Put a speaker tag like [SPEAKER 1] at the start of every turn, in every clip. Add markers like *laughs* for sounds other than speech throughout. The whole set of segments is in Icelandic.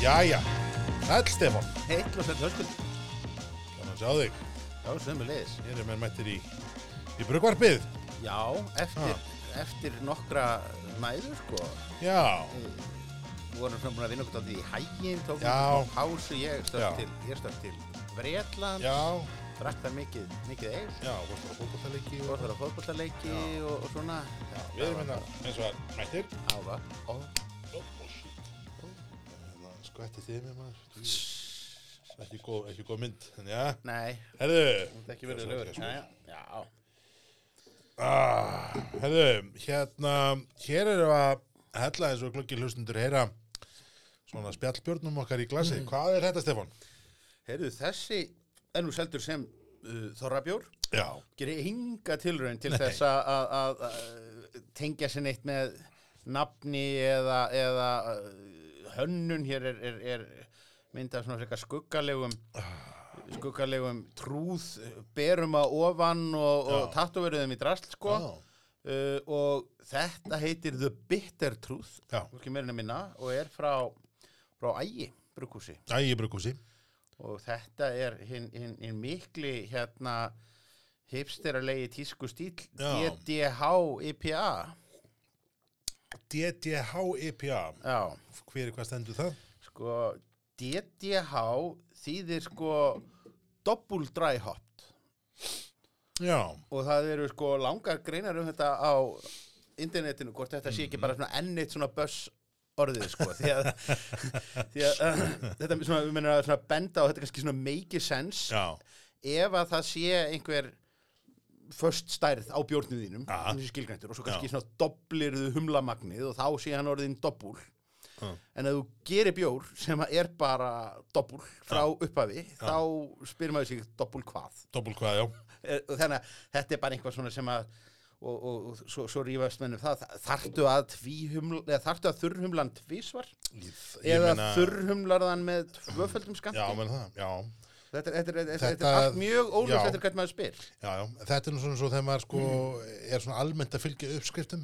[SPEAKER 1] Jæja, sæll Stefán,
[SPEAKER 2] Heill og sæll höskuld
[SPEAKER 1] gaman að sjá þig,
[SPEAKER 2] Já, sömu leiðis
[SPEAKER 1] hér er menn mættir í, í brugvarpið,
[SPEAKER 2] Já, eftir,
[SPEAKER 1] Ah.
[SPEAKER 2] eftir nokkra mæður sko
[SPEAKER 1] já,
[SPEAKER 2] Við vorum svona búin að vinna okkur á því í hægin Tókum
[SPEAKER 1] Já.
[SPEAKER 2] okkur pásu Ég
[SPEAKER 1] Já.
[SPEAKER 2] stökk til, ég stökk til Bretland
[SPEAKER 1] já,
[SPEAKER 2] Drakk þar mikið, mikið eil
[SPEAKER 1] já, varst það fótballtaleiki
[SPEAKER 2] Fór
[SPEAKER 1] og
[SPEAKER 2] þar á fótballaleiki og, og svona
[SPEAKER 1] já, við erum hérna eins og að mættir,
[SPEAKER 2] Áva Ó,
[SPEAKER 1] Ó, ó, shit. Hérna, skvætti þið mér maður, Þú, ekki góð, ekki góð mynd, en já,
[SPEAKER 2] nei
[SPEAKER 1] herðu, sko.
[SPEAKER 2] Það er ekki verið lögur Já, já
[SPEAKER 1] ah, herðu, hérna, hér erum við að hella eins og glöggir hlustundur heyra svona spjallbjörnum okkar í
[SPEAKER 2] Mm.
[SPEAKER 1] glasi, hvað er þetta Stefán?
[SPEAKER 2] Heyrðu, þessi er nú seldur sem uh, Þorrabjór
[SPEAKER 1] Já,
[SPEAKER 2] gerir hinga tilraun til þess að- að að- að tengja sér neitt með nafni eða, eða uh, hönnun hér er, er, er myndað svona frekar skuggalegum skuggalegum trúð uh, berum að ofan og, og
[SPEAKER 1] Já.
[SPEAKER 2] tattuverðum í drasl sko
[SPEAKER 1] Já.
[SPEAKER 2] uh, og þetta heitir The Bitter Truth
[SPEAKER 1] Já.
[SPEAKER 2] hvorki meirinu minna og er frá, frá ægi brukúsi
[SPEAKER 1] ægi brugúsi,
[SPEAKER 2] og þetta er hinn hin, hin mikli hérna hipsteralegi tísku stíl
[SPEAKER 1] Já.
[SPEAKER 2] DDH-IPA
[SPEAKER 1] DDH-IPA,
[SPEAKER 2] já,
[SPEAKER 1] E hver er hvað stendur það?
[SPEAKER 2] sko DDH þýðir sko double dry hopped
[SPEAKER 1] Já,
[SPEAKER 2] og það eru sko langar greinar um þetta á internetinu, hvort þetta sé ekki bara svona ennitt svona börs orðið sko, því að, *laughs* því að *clears throat* uh, þetta er svona, við mennum að svona benda og þetta er kannski svona make sense
[SPEAKER 1] já,
[SPEAKER 2] ef að það sé einhver först stærð á bjórnum þínum
[SPEAKER 1] Aha.
[SPEAKER 2] þessi skilgræntur og svo kannski svona doblirðu humlamagnið og þá sé hann orðin dobbul
[SPEAKER 1] Já.
[SPEAKER 2] en að þú gerir bjór sem að er bara dobbul frá upphafi þá spyr maður sig dobbul hvað
[SPEAKER 1] dobbul hvað, já
[SPEAKER 2] Eh, og þannig að þetta er bara eitthvað svona sem að og, og, og svo, svo rífast mennum það þartu að, tvíhuml- eða þarftu að þurrhumlan tvísvar
[SPEAKER 1] Ég, ég
[SPEAKER 2] eða
[SPEAKER 1] meina-
[SPEAKER 2] þurrhumlarðan með tvöföldum skamt
[SPEAKER 1] Já, menn það, já,
[SPEAKER 2] þetta, er- þetta, er- þetta, þetta
[SPEAKER 1] Þetta-
[SPEAKER 2] er allt mjög
[SPEAKER 1] já.
[SPEAKER 2] ólöfst eftir hvernig maður spyr
[SPEAKER 1] já, já Þetta er nú svona svo þegar maður sko er svona almennt að fylgja uppskriftum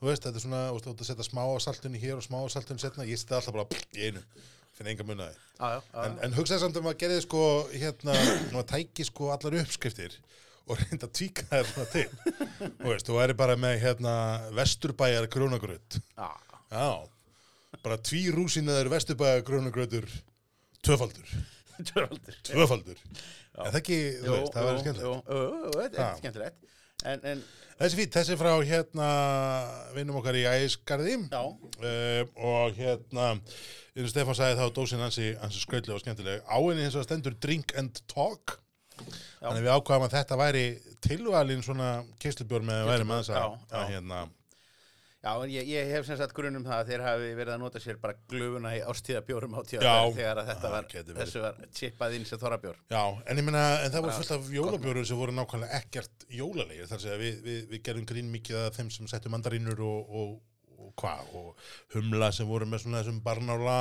[SPEAKER 1] Þú veist, þetta er svona, þú veist, þú ert að setja smá á saltinu hér og smá á saltinu setna Ég setja alltaf bara í einu, finn enga munnaði
[SPEAKER 2] já, já, já.
[SPEAKER 1] En, en hugsaði samt um að gerði sko, hérna, svona tæki sko allar uppskriftir og reynda að tvíka þær svona til Þú veist, þú væri bara með, hérna, vesturbæjar krónagröð
[SPEAKER 2] Já, *laughs*
[SPEAKER 1] Já, bara tví rúsinaður vesturbæða grönugröður tvöfaldur,
[SPEAKER 2] tvöfaldur.
[SPEAKER 1] tvöfaldur en það ekki, þú veist, það verður skemmtilegt
[SPEAKER 2] Jú, jú, jú, þetta
[SPEAKER 1] Ha.
[SPEAKER 2] er skemmtilegt. En, en,
[SPEAKER 1] Þessi fýtt, þessi er frá hérna vinnum okkar í Æsgarði
[SPEAKER 2] Já.
[SPEAKER 1] Eh, og hérna eins og Stefán sagði þá dósin hansi, hansi skröldlega og skemmtilega áinni hins vegar stendur drink and talk
[SPEAKER 2] Já.
[SPEAKER 1] þannig við ákvaðum að þetta væri tilvalin svona kistubjörn með að væri með þess að,
[SPEAKER 2] Já, já.
[SPEAKER 1] að hérna,
[SPEAKER 2] já, en ég, ég hef sem sagt grunum það að þeir hafi verið að nota sér bara glöfuna í ástíðabjórum á tíða
[SPEAKER 1] Já.
[SPEAKER 2] þegar að
[SPEAKER 1] Það
[SPEAKER 2] þetta var,
[SPEAKER 1] gæti verið.
[SPEAKER 2] þessu var chippað inn sem þorrabjór.
[SPEAKER 1] Já, en ég meina, en það voru fullt af jólabjóru sem voru nákvæmlega ekkert jólalegir þar sem við, við, við gerum grín mikið að þeim sem settu mandarínur og, og, og hvað og humla sem voru með svona þessum barnála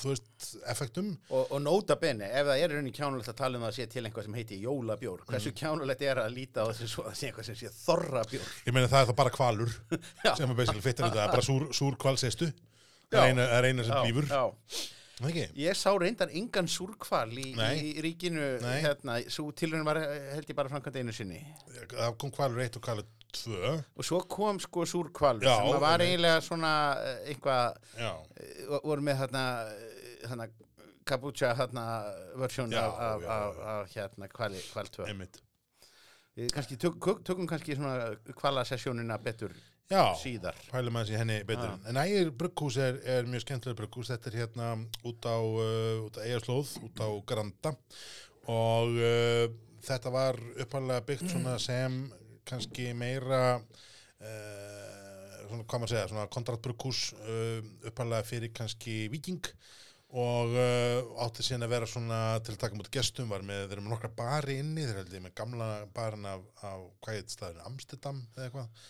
[SPEAKER 1] þú veist, effektum
[SPEAKER 2] Og, og nota bene, ef það er raunin kjánulegt að tala um það að sé til einhvað sem heiti jólabjór, hversu
[SPEAKER 1] Mm.
[SPEAKER 2] kjánulegt er að líta á þessu svo að það sé eitthvað sem sé þorrabjór?
[SPEAKER 1] ég meina það er það bara kvalur
[SPEAKER 2] *laughs* Já.
[SPEAKER 1] sem er basically fittar þetta, það er bara súr, súr kvalsestu það
[SPEAKER 2] Já.
[SPEAKER 1] er eina, það er eina sem blífur
[SPEAKER 2] Já, já.
[SPEAKER 1] Það ekki?
[SPEAKER 2] Ég sá reyndar engan súrkval í,
[SPEAKER 1] Nei.
[SPEAKER 2] í ríkinu,
[SPEAKER 1] Nei.
[SPEAKER 2] hérna, svo tilhörnum var eh, held ég bara framkvæmt einu sinni.
[SPEAKER 1] það kom kvalur 1 og kvalur 2
[SPEAKER 2] og svo kom sko súrkvalur
[SPEAKER 1] Já,
[SPEAKER 2] sem að var
[SPEAKER 1] einmitt.
[SPEAKER 2] eiginlega svona eh, eitthvað,
[SPEAKER 1] já,
[SPEAKER 2] eh, vo- voru með þarna eh, þarna kabucha þarna versjón
[SPEAKER 1] Já,
[SPEAKER 2] af, af,
[SPEAKER 1] já,
[SPEAKER 2] af,
[SPEAKER 1] já.
[SPEAKER 2] af hérna kvali, kval 2
[SPEAKER 1] einmitt
[SPEAKER 2] við kannski tök, kök- tökum kannski svona kvalasessjónina betur
[SPEAKER 1] Já,
[SPEAKER 2] síðar
[SPEAKER 1] pælum aðeins í henni betur. En ægir brugghús er, er mjög skemmtilega brugghús. Þetta er hérna út á, uh, út á Eyjarslóð, út á Granda og uh, þetta var uppalega byggt svona sem kannski meira uh, svona, hvað maður segja, svona kontrastbrugghús uh, uppalega fyrir kannski viking og uh, átti síðan að vera svona til að taka mútið gestum var með, þeir eru með nokkra bari inni þeir heldur með gamla barinn af, af hvað heit staðinu, Amsterdam eða eitthvað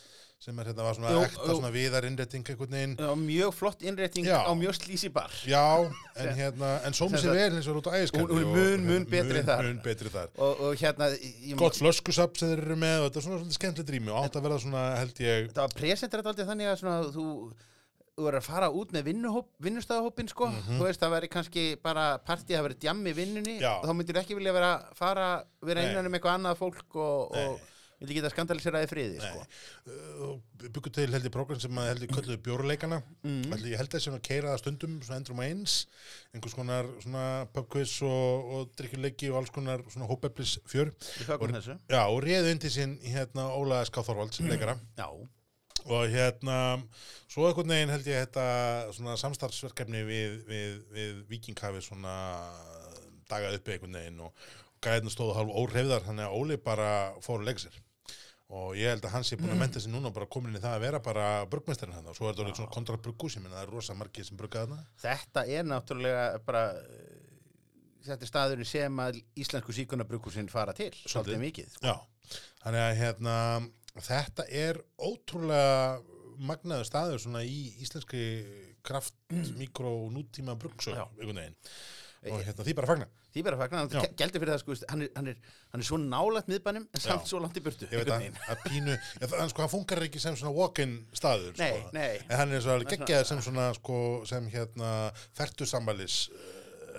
[SPEAKER 1] sem er hérna var svona
[SPEAKER 2] Jú,
[SPEAKER 1] ekta
[SPEAKER 2] jú.
[SPEAKER 1] svona viðarinnretting einhvern veginn
[SPEAKER 2] það var mjög flott innrétting
[SPEAKER 1] Já.
[SPEAKER 2] á mjög slísi bar
[SPEAKER 1] Já, en hérna, en sómi sér vel eins og er út á ægiskan
[SPEAKER 2] Hún- hún er mun, mun betri þar.
[SPEAKER 1] Mun betri þar
[SPEAKER 2] og, og hérna ég,
[SPEAKER 1] Gott flöskusapp sem þeir eru með og þetta er svona svolítið skemmtilegt rými og átt að verða svona held ég
[SPEAKER 2] það var presenterat aldrei þannig að svona, þú þú er að fara út með vinnuhóp, vinnustæðahópin sko,
[SPEAKER 1] Mhm.
[SPEAKER 2] þú veist það væri kannski bara partíð að vera djamm í vinnunni
[SPEAKER 1] Já.
[SPEAKER 2] þá myndir ekki vilja vera fara vera
[SPEAKER 1] Nei.
[SPEAKER 2] einan um eitthvað annað fólk og,
[SPEAKER 1] Nei.
[SPEAKER 2] og vilja geta skandaliseraði friði sko.
[SPEAKER 1] uh, byggur til heldur program sem að heldur kölluðu bjóruleikana
[SPEAKER 2] Mm.
[SPEAKER 1] heldur, ég held að þessi að keira það stundum svona endur um eins einhvers konar svona pubquiz og, og drikkjuleiki og alls konar svona hópeflis fjör
[SPEAKER 2] við höfum þessu
[SPEAKER 1] já og réðu undir sín hérna Ólaði
[SPEAKER 2] *clears throat*
[SPEAKER 1] Skáþorvald sem leikara
[SPEAKER 2] Já,
[SPEAKER 1] og hérna svo einhvern veginn held ég þetta svona samstarfsverkefni við, við, við Vikinghafið svona dagað uppi einhvern veginn og, og gæðin stóðu hálf óhreyfðar þannig að Óli bara fór og legg sér og ég held að hans er búin að menta sér núna og bara komin inn í það að vera bara brugmestarinn hann og svo er þetta orðið svona kontrabruggus ég minna það er rosa margið sem brugga þarna
[SPEAKER 2] þetta er náttúrulega bara eh, þetta er staðurinn sem að íslensku síkunabrukusinn fara til, svolítið mikið
[SPEAKER 1] Já, þannig að hérna, þetta er ótrúlega magnaður staður svona í íslenskri kraft, mikro og nútíma brugsög,
[SPEAKER 2] Já.
[SPEAKER 1] einhvern veginn. Og hérna, því bara fagna.
[SPEAKER 2] Því bara að fagna, hann
[SPEAKER 1] Já.
[SPEAKER 2] gældi fyrir það sko, veist, hann er, hann er, hann er svo nálægt miðbænum en samt
[SPEAKER 1] Já.
[SPEAKER 2] svo langt í burtu
[SPEAKER 1] Ég veit að,
[SPEAKER 2] einhvern veginn.
[SPEAKER 1] að pínu, ég, það, sko, hann funkar ekki sem svona walk-in staður,
[SPEAKER 2] Nei,
[SPEAKER 1] sko.
[SPEAKER 2] nei.
[SPEAKER 1] En hann er svo alveg geggjaður sem svona, sko, sem hérna, fertusambalis uh,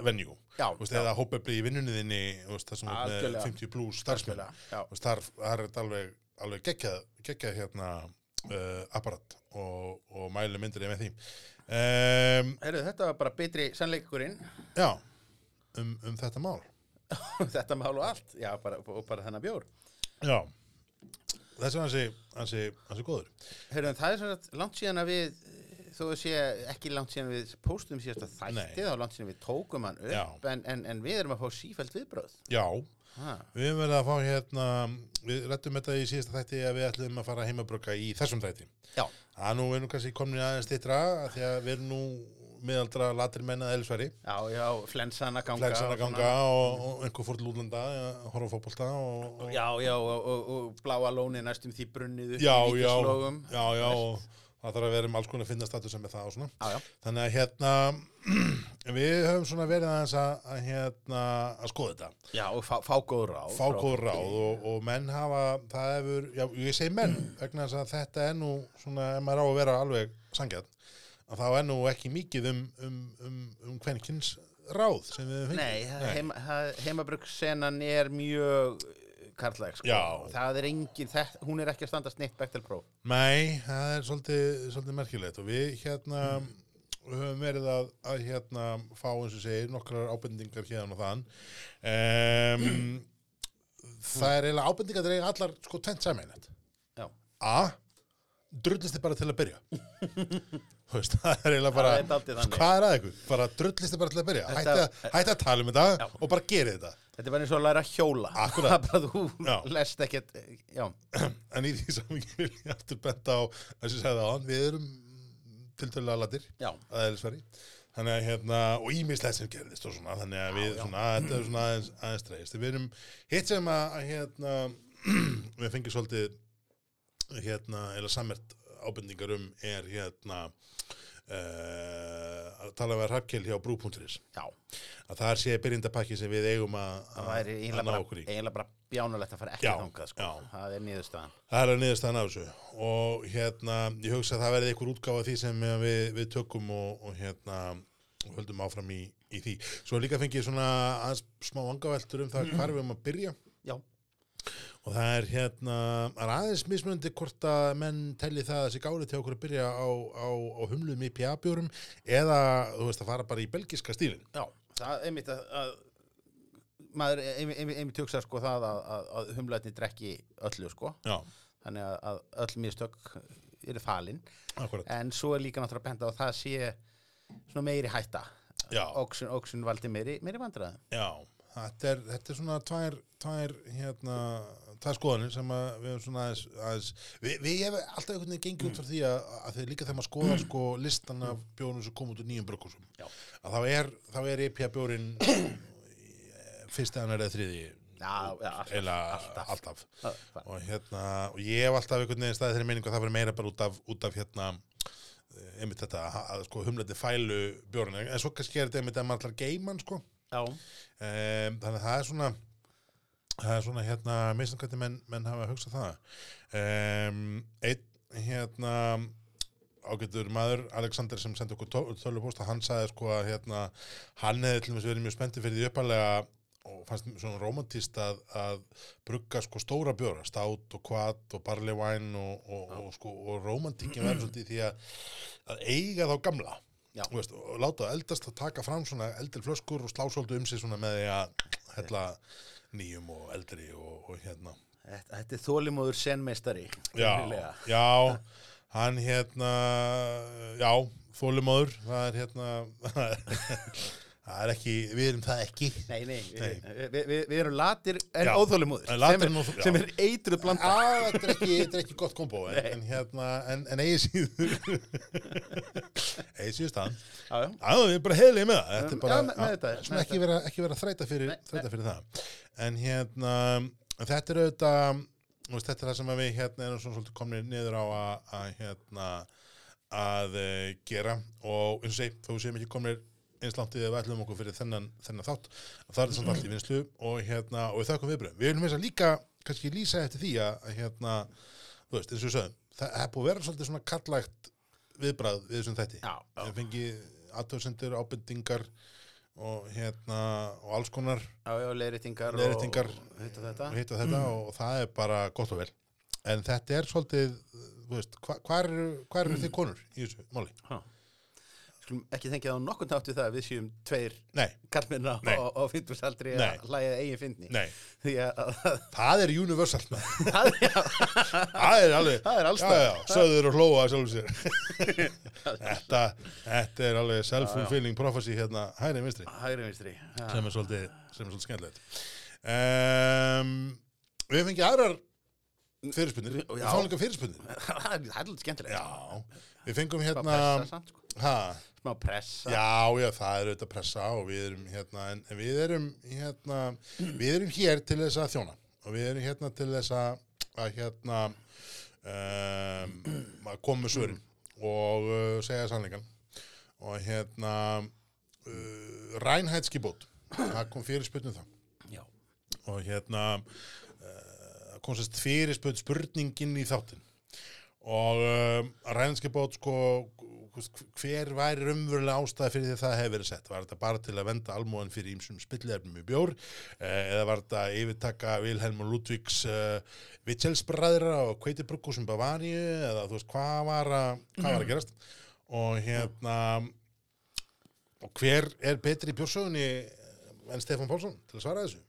[SPEAKER 1] venjú.
[SPEAKER 2] Já,
[SPEAKER 1] Þú veist,
[SPEAKER 2] já.
[SPEAKER 1] eða hópefli í vinnunniðinni, þú veist, það sem er með
[SPEAKER 2] Algjörlega.
[SPEAKER 1] 50 plus starfsmenn.
[SPEAKER 2] Algjörlega, já.
[SPEAKER 1] Þú veist, þar, þar er þetta alveg, alveg geggjað, geggjað hérna uh, apparat og, og mælu myndir ég með því. Um,
[SPEAKER 2] Heyrðu, þetta var bara betri sannleikurinn
[SPEAKER 1] já, um, um þetta mál.
[SPEAKER 2] *laughs* þetta mál og allt, já, bara, og bara þennan bjór
[SPEAKER 1] Já, þessi er hansi, hansi, hansi góður.
[SPEAKER 2] Heyrðu, en það er svona langt síðan að við eh, þó að sé ekki langt síðan við póstum síðasta
[SPEAKER 1] Nei.
[SPEAKER 2] þætti þá langt síðan við tókum hann upp
[SPEAKER 1] Já.
[SPEAKER 2] en, en, en við erum að fá sífælt viðbröð
[SPEAKER 1] Já,
[SPEAKER 2] ha.
[SPEAKER 1] Við höfum verið að fá hérna, við rettum þetta í síðasta þætti að við ætlum að fara heimabröka í þessum þætti.
[SPEAKER 2] Já,
[SPEAKER 1] Það nú er nú kannski komin aðeins stýttra að því að við erum nú miðaldra latir menn að elsveri,
[SPEAKER 2] já, já, flensana ganga
[SPEAKER 1] flegsana
[SPEAKER 2] og svona. Mm.
[SPEAKER 1] ganga og, og einhver fórt lúlanda, horfa á fótbolta og, og
[SPEAKER 2] Já, já, og, og, og bláa lóni næstum því brunnið upp
[SPEAKER 1] já,
[SPEAKER 2] í
[SPEAKER 1] já,
[SPEAKER 2] vítislogum
[SPEAKER 1] já, já, og það þarf að vera um alls konar að finna status sem er það og svona.
[SPEAKER 2] Já, já,
[SPEAKER 1] Þannig að hérna, *clears throat* við höfum svona verið aðeins að, að hérna, að skoða þetta.
[SPEAKER 2] já, og fá, fá góð ráð
[SPEAKER 1] fá
[SPEAKER 2] frá-
[SPEAKER 1] góð ráð og, og menn hafa það hefur, já ég segi menn vegna þess að þetta er nú svona ef maður á að vera alveg sangjarn að þá er nú ekki mikið um, um, um, um kvenkins ráð sem við höfum
[SPEAKER 2] Nei, heima, heimabrugsenan er mjög uh, karlæg sko.
[SPEAKER 1] Já.
[SPEAKER 2] Það er engin, þett, hún er ekki að standa snitt Bechtel Pro
[SPEAKER 1] Nei, það er svolítið, svolítið merkilegt og við hérna höfum verið að, að hérna fá eins og segir nokkrar ábendingar hérna og þann um, Það er eiginlega ábendingar þegar allar sko tvennt sameinlegt
[SPEAKER 2] Já,
[SPEAKER 1] A drullist þið bara til að byrja þú veist, það er eiginlega
[SPEAKER 2] Það er
[SPEAKER 1] bara
[SPEAKER 2] dálítið þannig.
[SPEAKER 1] hvað er að ykkur, bara drullist þið bara til að byrja
[SPEAKER 2] Þetta-
[SPEAKER 1] hætti að, hætti að tala um þetta og bara gerið þetta *clears throat*
[SPEAKER 2] þetta var eins og að læra að hjóla
[SPEAKER 1] Akkúrat.
[SPEAKER 2] Það er bara þú
[SPEAKER 1] Já.
[SPEAKER 2] lest ekkert eh, Já,
[SPEAKER 1] en í því samingi vil ég aftur benda á þessi sagði á hann, við erum tiltölulega latir
[SPEAKER 2] já,
[SPEAKER 1] að eðlisveri þannig að hérna, og ímislegt sem gerðist og svona, þannig að við svona, þetta er svona aðeins, aðeins dreist, við erum hitt sem að að, hérna *clears throat* við fengið svolítið hérna, eða sammert ábendingar um er hérna uh, að tala við Hrafkel hjá brú.is
[SPEAKER 2] já
[SPEAKER 1] að það sé byrjindapakki sem við eigum að
[SPEAKER 2] Það
[SPEAKER 1] að-
[SPEAKER 2] væri
[SPEAKER 1] að
[SPEAKER 2] eiginlega
[SPEAKER 1] ná
[SPEAKER 2] bara,
[SPEAKER 1] okkur í
[SPEAKER 2] eiginlega bara bjánulegt að fara ekki
[SPEAKER 1] Já,
[SPEAKER 2] þangað sko.
[SPEAKER 1] já.
[SPEAKER 2] Það er niðurstaðan
[SPEAKER 1] Það er að niðurstaðan af þessu og hérna, ég hugsa að það verði einhver útgáfa af því sem eh, við, við tökum og, og hérna, og höldum áfram í, í því. Svo líka fengi ég svona aðeins smá vangaveltur um það hvar við um að byrja
[SPEAKER 2] Já,
[SPEAKER 1] og það er hérna, það er aðeins mismunandi hvort að menn telli það að þessi gáli til okkur að byrja á, á, á humlum IPA-bjórum eða, þú veist, að fara bara í belgiska stílinn.
[SPEAKER 2] já, það er einmitt að, að maður e-, einmitt, einmitt, einmitt hugsa sko það að, að, að humlætni drekki öllu sko
[SPEAKER 1] Já,
[SPEAKER 2] þannig að, að öll mistök eru falin
[SPEAKER 1] akkurat.
[SPEAKER 2] en svo er líka náttúrulega bent á að það sé svona meiri hætta
[SPEAKER 1] Já.
[SPEAKER 2] óksun, óksun valdi meiri, meiri vandræðum
[SPEAKER 1] Já, þetta er, þetta er svona tvær, tvær, hérna, tvær skoðanir sem að við erum svona aðeins, aðeins við, við hefum alltaf einhvern veginn gengið út frá því að, að þeir líka þegar maður skoðar sko listan af bjónum sem kom út úr nýjum brökkursum
[SPEAKER 2] Já.
[SPEAKER 1] að þá er, þá er E IPA bjórin fyrst eða nærið þriði
[SPEAKER 2] Já, já, alltaf,
[SPEAKER 1] eila
[SPEAKER 2] alltaf.
[SPEAKER 1] alltaf,
[SPEAKER 2] Það- það-
[SPEAKER 1] og hérna, og ég hef alltaf einhvern veginn staðið þeirri meiningu að það verið meira bara út af, út af hérna eh, einmitt þetta, að, að sko humlandi fælu bjórinu, en svo kannski er þetta einmitt að maður allar geiman sko
[SPEAKER 2] Já,
[SPEAKER 1] um, þannig að það er svona það er svona hérna misnum hvernig menn, menn hafa að hugsa það um, einn hérna ágætur maður, Alexander sem sendi okkur tó- tölvupóst að hann sagði sko að hérna, hann hefði til og með verið mjög spenntið fyrir því uppalega og fannst svona romantist að, að brugga sko stóra bjóra, stát og kvat og barley wine og, og, og, sko og romantikin verður svolítið í því að, að eiga þá gamla
[SPEAKER 2] Já.
[SPEAKER 1] Þú veist, og láta það eldast að taka fram svona eldri flöskur og slá svolítið um sig svona með því að hella nýjum og eldri og, og hérna
[SPEAKER 2] Þetta, þetta er þólimóður senmeistari.
[SPEAKER 1] já,
[SPEAKER 2] greinilega.
[SPEAKER 1] já, hann hérna já, þólumóður það er hérna *laughs* það er ekki, við erum það ekki
[SPEAKER 2] Nei, nei, við,
[SPEAKER 1] Nei.
[SPEAKER 2] Við, við, við erum latir en
[SPEAKER 1] Já.
[SPEAKER 2] óþólimóður.
[SPEAKER 1] En latir
[SPEAKER 2] sem er-
[SPEAKER 1] en óþol- já.
[SPEAKER 2] Sem er eitruð blanda.
[SPEAKER 1] Já, þetta er ekki, þetta er ekki gott kombo en, en hérna, en, en eigi síður *laughs* eigi síður stann
[SPEAKER 2] Já, já.
[SPEAKER 1] Já, við erum bara heiðlega með það Þetta
[SPEAKER 2] Já,
[SPEAKER 1] er bara,
[SPEAKER 2] með- með þetta,
[SPEAKER 1] svona
[SPEAKER 2] með
[SPEAKER 1] ekki, vera, ekki vera að þræta fyrir,
[SPEAKER 2] Nei,
[SPEAKER 1] þræta fyrir það En hérna, þetta er auðvitað þú veist, Þetta er það sem að við hérna erum svona svolítið komnir niður á að, að hérna að e, gera og eins og segi, þó við séum ekki komnir eins langt í því að við ætlum okkur fyrir þennan, þennan þátt það er samt allt í vinslu og hérna og við þakkum viðbröðum. Við viljum þess að líka kannski lýsa eftir því að, að hérna þú veist, eins og við sögum, það er búið að vera svolítið svona kallægt viðbrað við þessum þætti
[SPEAKER 2] Já, já.
[SPEAKER 1] Við fengið aðtöðsendur, ábendingar og hérna og alls konar
[SPEAKER 2] Já, já, leiðréttingar
[SPEAKER 1] Leiðréttingar.
[SPEAKER 2] og hitt og þetta.
[SPEAKER 1] og hitt og þetta
[SPEAKER 2] Mm.
[SPEAKER 1] og það er bara gott og vel en þetta er svolítið þú veist, hva- hvar eru, hvar eru þið konur í þessu máli?
[SPEAKER 2] Ha. Skulum ekki þengja á nokkurn hátt við það að við séum tveir
[SPEAKER 1] Nei,
[SPEAKER 2] kallmenn á,
[SPEAKER 1] Nei.
[SPEAKER 2] á, á fyndursaldri
[SPEAKER 1] Nei.
[SPEAKER 2] að hlæja að eigin fyndni.
[SPEAKER 1] nei,
[SPEAKER 2] Því að, að,
[SPEAKER 1] það er universal
[SPEAKER 2] að, að
[SPEAKER 1] það er alveg
[SPEAKER 2] *laughs* Það er alls
[SPEAKER 1] já, já, söður og hlóa að sjálfum sér *laughs* þetta, þetta er alveg self-fulfilling prophecy hérna hæri vinstri
[SPEAKER 2] hægri vinstri. Já.
[SPEAKER 1] sem er svolítið, sem er svolítið skemmtilegt um, Við hefum fengið aðrar fyrirspunnir,
[SPEAKER 2] Já.
[SPEAKER 1] við fáum líka fyrirspunnir
[SPEAKER 2] *laughs* Það er það er svolítið skemmtilegt.
[SPEAKER 1] Já, við fengum
[SPEAKER 2] Smá
[SPEAKER 1] hérna
[SPEAKER 2] pressa samt, sko.
[SPEAKER 1] ha,
[SPEAKER 2] Smá pressa.
[SPEAKER 1] Já, já, það er auðvitað pressa og við erum hérna, en, en við erum hérna, við erum hér til þess að þjóna og við erum hérna til þess að, að hérna um, að koma með svörin og uh, segja sannleikan og hérna uh, rænhætskibót það kom fyrirspunnum það
[SPEAKER 2] Já.
[SPEAKER 1] og hérna uh, kom sérst fyrir spöld spurningin í þáttin og um, ræðinskipbót sko hú veist, hver væri raunverulega ástæði fyrir því að það hefur verið sett var þetta bara til að venda almóðan fyrir ímsum spillefnum í bjór eh, eða var þetta yfirtaka Vilhelm og Ludvigs uh, Vitselsbræðra og Kveitibrukkusum Bavaríu eða þú veist hvað var að, hvað var að gerast og hérna og hver er betri í bjórsögunni en Stefán Pálsson til að svara þessu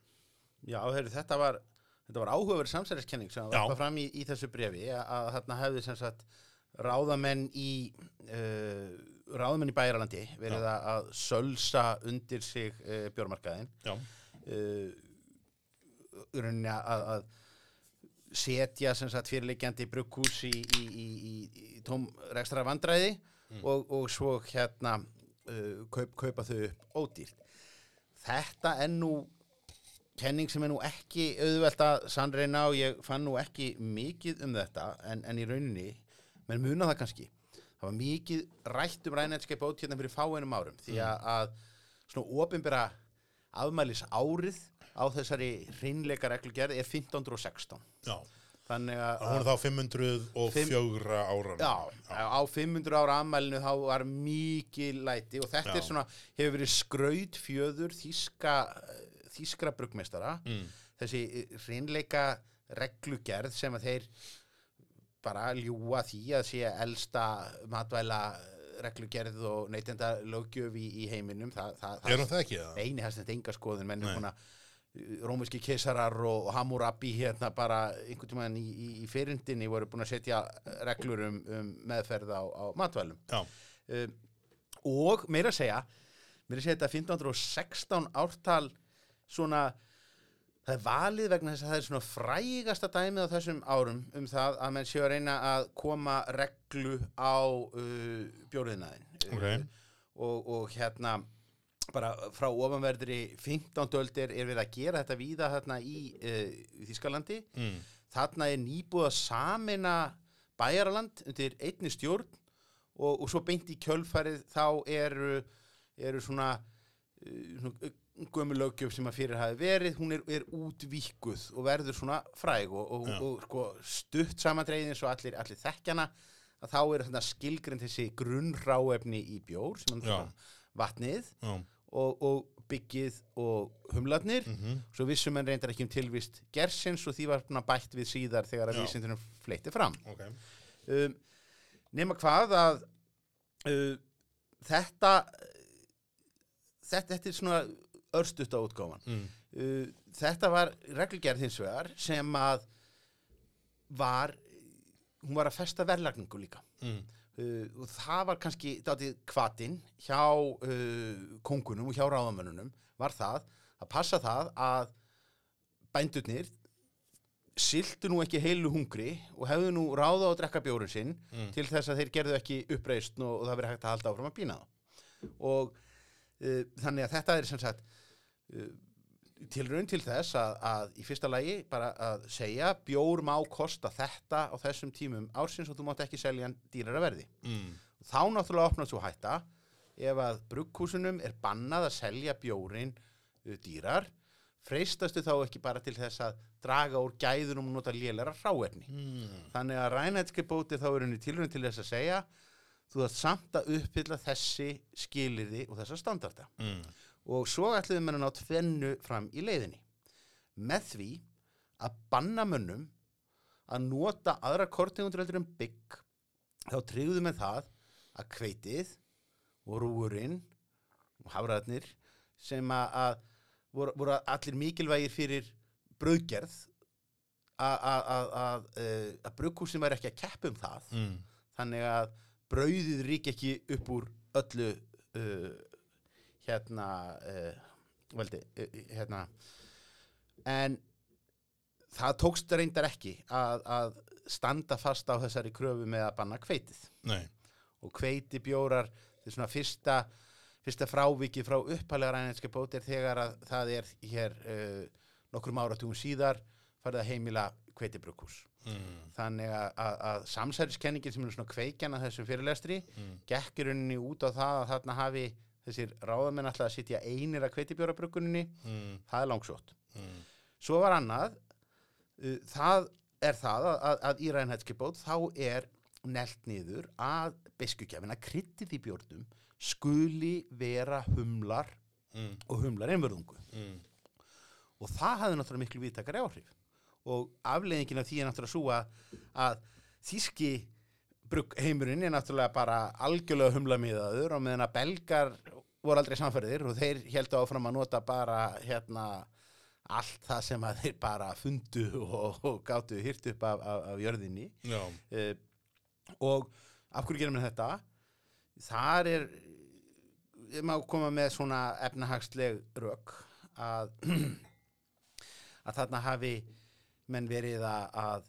[SPEAKER 2] Já, heyrðu, þetta var, þetta var áhugaverð samsæðiskenning sem
[SPEAKER 1] Já.
[SPEAKER 2] var bara fram í, í þessu brefi að, að þarna hefði sem sagt ráðamenn í uh, ráðamenn í Bæralandi verið
[SPEAKER 1] Já.
[SPEAKER 2] að að sölsa undir sig uh, björmarkaðin
[SPEAKER 1] Já.
[SPEAKER 2] uh, rauninni að, að setja sem sagt fyrirliggjandi brugghús í, í, í, í, í tóm rekstra vandræði
[SPEAKER 1] Mm.
[SPEAKER 2] og, og svo hérna uh, kaup, kaupa þau upp ódýrt. Þetta er nú kenning sem er nú ekki auðvelt að sannreina og ég fann nú ekki mikið um þetta en, en í rauninni, menn muna það kannski það var mikið rætt um rænenskei bót hérna fyrir fáeinum árum því að, að svona opinbera afmælis árið á þessari hreinleika reglugerð er 1516
[SPEAKER 1] Já,
[SPEAKER 2] þannig að,
[SPEAKER 1] hún er þá 504 ára.
[SPEAKER 2] Já, á 500 ára ammælinu þá var mikið læti og þetta
[SPEAKER 1] Já.
[SPEAKER 2] er svona, hefur verið skraut fjöður þíska, þískra brugmeistara, þessi reynleika reglugerð sem að þeir bara ljúa því að sé elsta matvæla reglugerð og neytenda löggjöf í, í heiminum það, það,
[SPEAKER 1] Er hún það ekki eða?
[SPEAKER 2] eini hans þetta enga skoðin menn
[SPEAKER 1] Nei.
[SPEAKER 2] er svona rómiski eh, keisarar og Hammurabi hérna bara einhvern tímann í, í, í fyrindinni voru búin að setja reglur um, um meðferð á, á matvælum
[SPEAKER 1] Já,
[SPEAKER 2] um, og meira að segja meira að segja þetta 1516 ártal svona það er valið vegna þess að það er svona frægasta dæmið á þessum árum um það að menn séu að reyna að koma reglu á Eh, uh, bjóriðnaðin
[SPEAKER 1] Ok.
[SPEAKER 2] og, og hérna bara frá ofanverðri 15. öldir er við að gera þetta víða þarna í uh, Þískalandi mm. þarna er nýbúið að samina bæjaraland undir einni stjórn og, og svo beint í kjölfarið þá eru, eru svona, eh, svona gömulöggjöf sem að fyrir hafi verið, hún er, er útvíkkuð og verður svona fræg og, og,
[SPEAKER 1] Já.
[SPEAKER 2] og, sko, stutt samandreiðin svo allir, allir þekkjana að þá er þarna skilgrind þessi grunnráefni í bjór sem er
[SPEAKER 1] Já.
[SPEAKER 2] þarna vatnið
[SPEAKER 1] já,
[SPEAKER 2] og, og byggið og humlarnir
[SPEAKER 1] mhm,
[SPEAKER 2] svo vissum en reyndar ekki um tilvist gersins og því var svona bætt við síðar þegar að
[SPEAKER 1] Já.
[SPEAKER 2] vísindunum fleitti fram
[SPEAKER 1] ok,
[SPEAKER 2] um, nema hvað að uh, þetta þetta, þetta er svona örstutt á útgáfan
[SPEAKER 1] mm,
[SPEAKER 2] uh, þetta var reglugerð hins vegar sem að var hún var að festa verðlagningu líka
[SPEAKER 1] mm,
[SPEAKER 2] uh, og það var kannski dátið kvatinn hjá uh, kongunum og hjá ráðamönnunum var það að passa það að bændurnir siltu nú ekki heilu hungri og hefðu nú ráða á að drekka bjórun sinn
[SPEAKER 1] Mm.
[SPEAKER 2] til þess að þeir gerðu ekki uppreist og, og það verið hægt að halda áfram að býna þá og uh, þannig að þetta er sem sagt uh, tilraun til þess að, að í fyrsta lagi bara að segja bjór má kosta þetta á þessum tímum ársins og þú mátt ekki selja hann dýrara verði.
[SPEAKER 1] mm,
[SPEAKER 2] Þá náttúrulega opnast þú hætta ef að brugghúsunum er bannað að selja bjórin uh, dýrar freistastu þá ekki bara til þess að draga úr gæðunum og nota lélæra hráefni.
[SPEAKER 1] mm,
[SPEAKER 2] Þannig að rænætski bóti þá er henni tilraun til þess að segja þú þarft samt að uppfylla þessi skilirði og þessa standarda
[SPEAKER 1] mm,
[SPEAKER 2] og svo ætluðu menn að ná tvennu fram í leiðinni með því að banna mönnum að nota aðra kortegundur heldur en bygg þá tryggðu með það að hveitið og rúurinn og hafraðnir sem að, að voru, voru allir mikilvægir fyrir brauðgerð að, að, að, að, eh, að brugghúsin væri ekki að keppa um það
[SPEAKER 1] mm,
[SPEAKER 2] þannig að brauðið rík ekki upp úr öllu uh, hérna uh, veldi, uh, hérna en það tókst reyndar ekki að, að standa fast á þessari kröfu með að banna hveitið
[SPEAKER 1] nei,
[SPEAKER 2] og hveiti bjórar þetta er svona fyrsta, fyrsta fráviki frá uppalega rænenska bót er þegar að það er hér uh, nokkrum áratugum síðar farið að heimila hveiti
[SPEAKER 1] mm,
[SPEAKER 2] þannig að, að, að samsæriskenningin sem er svona kveikjan að þessum fyrirlestri
[SPEAKER 1] Mm.
[SPEAKER 2] gekk í rauninni út á það að þarna hafi þessir ráðamenn alltaf að sitja einir að kveitibjórabrugguninni,
[SPEAKER 1] mm,
[SPEAKER 2] það er langsótt
[SPEAKER 1] mm,
[SPEAKER 2] svo var annað uh, það er það að, að, að í rænhætskipót þá er nelt niður að beskugjafin að kryttið í bjórnum skuli vera humlar
[SPEAKER 1] mm,
[SPEAKER 2] og humlar einverðungu
[SPEAKER 1] mm,
[SPEAKER 2] og það hafði náttúrulega miklu viðtakari áhrif og afleiðingin af því er náttúrulega svo að, að þíski heimurinn er náttúrulega bara algjörlega humlamiðaður og meðan að belgar voru aldrei samferðir og þeir heldur áfram að nota bara hérna allt það sem að þeir bara fundu og, og gátu hýrt upp af, af, af jörðinni
[SPEAKER 1] já,
[SPEAKER 2] uh, og af hverju gerum við þetta þar er ég má koma með svona efnahagsleg rök að, *clears throat* að þarna hafi menn verið að, að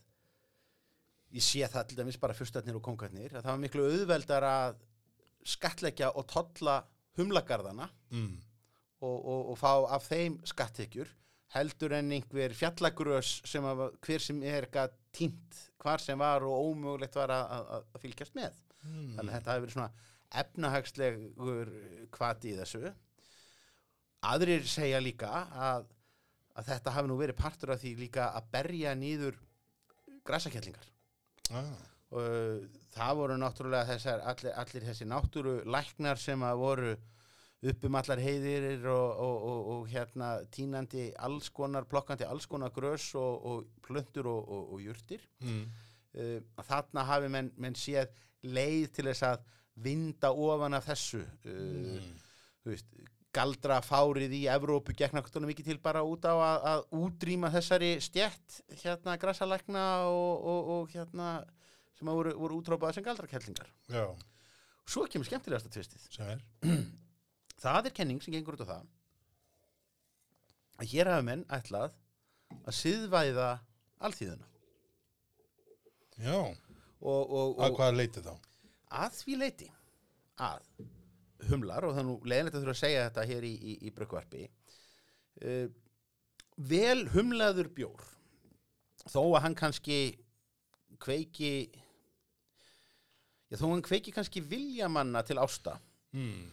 [SPEAKER 2] ég sé það til dæmis bara fyrstarnir og kongarnir að það var miklu auðveldar að skattleggja og tolla humlagarðana
[SPEAKER 1] mm,
[SPEAKER 2] og, og, og fá af þeim skattekjur heldur en einhver fjallagrös sem að, hver sem er gæt tínt hvar sem var og ómögulegt var að, að, að fylgjast með
[SPEAKER 1] mm,
[SPEAKER 2] þannig að þetta hafi verið svona efnahagslegur kvati í þessu aðrir segja líka að, að þetta hafi nú verið partur af því líka að berja nýður græsakjallingar
[SPEAKER 1] ah,
[SPEAKER 2] og það voru náttúrulega þessar, allir, allir þessi náttúru læknar sem að voru upp um allar heiðirir og, og, og, og hérna tínandi alls konar, plokkandi alls konar grös og, og plöntur og, og, og jurtir
[SPEAKER 1] mm,
[SPEAKER 2] uh, þarna hafi menn, menn séð leið til þess að vinda ofan af þessu uh,
[SPEAKER 1] mm,
[SPEAKER 2] þú veist, galdra fárið í Evrópu gekk náttúrulega mikið til bara út á að, að útrýma þessari stjætt hérna græsalækna og, og, og hérna sem að voru, voru útrópað sem galdrakellingar.
[SPEAKER 1] já,
[SPEAKER 2] Svo kemur skemmtilegasta tvistið.
[SPEAKER 1] sér,
[SPEAKER 2] Það er kenning sem gengur út á það að hér hafa menn ætlað að siðvæða alþýðuna
[SPEAKER 1] já,
[SPEAKER 2] og, og,
[SPEAKER 1] að
[SPEAKER 2] og Ah.
[SPEAKER 1] hvað leiti þá?
[SPEAKER 2] að því leiti að humlar og það er nú leiðinlegt að þurfa að segja þetta hér í, í, í brökkvarpi uh, vel humlaður bjór þó að hann kannski kveiki já, þó að hann kveiki kannski viljamanna til ásta
[SPEAKER 1] Mm,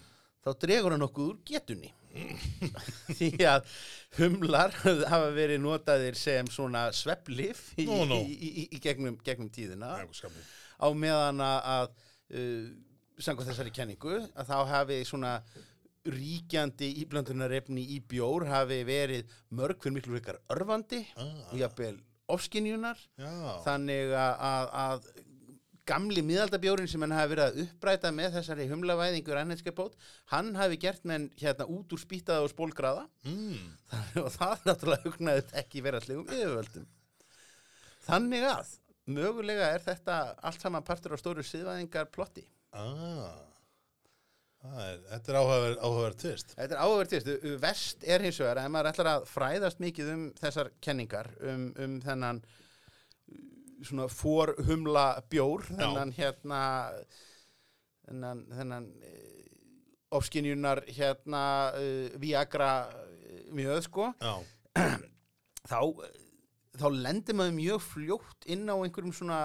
[SPEAKER 2] þá dregur hann nokkuð úr getunni *laughs* því að humlar hafa verið notaðir sem svona svepplif í,
[SPEAKER 1] Nú, nú.
[SPEAKER 2] í, í, í, í gegnum, gegnum tíðina
[SPEAKER 1] það er eitthvað skammið.
[SPEAKER 2] á meðan að, að uh, samkvæmt þessari kenningu að þá hafi svona ríkjandi íblöndunarefni í bjór hafi verið mörg fyrir miklu veikar örfandi
[SPEAKER 1] Ah.
[SPEAKER 2] og jafnvel ofskinjunar
[SPEAKER 1] Já,
[SPEAKER 2] þannig að, að, að gamli miðaldabjórin sem hann hafi verið að uppræta með þessari humlavæðingu rænhetskapót, hann hafi gert menn hérna út úr spýtaða og spólgraða
[SPEAKER 1] mm,
[SPEAKER 2] Þannig- *laughs* og það náttúrulega hugnaði ekki vera slegum yfirvöldum þannig að mögulega er þetta allt saman partur á stóru síðvæðingar plotti
[SPEAKER 1] ah. Það er, þetta er áhugaverð áhugaver tvist.
[SPEAKER 2] þetta er áhvertist, vest er hins vegar að ef maður ætlar að fræðast mikið um þessar kenningar um, um þennan uh, svona fórhumla bjór
[SPEAKER 1] Já.
[SPEAKER 2] þennan hérna þennan, þennan ofskinjunar hérna uh, Viagra eh, mjög sko
[SPEAKER 1] Já,
[SPEAKER 2] þá, eh, þá lendir maður mjög fljótt inn á einhverjum svona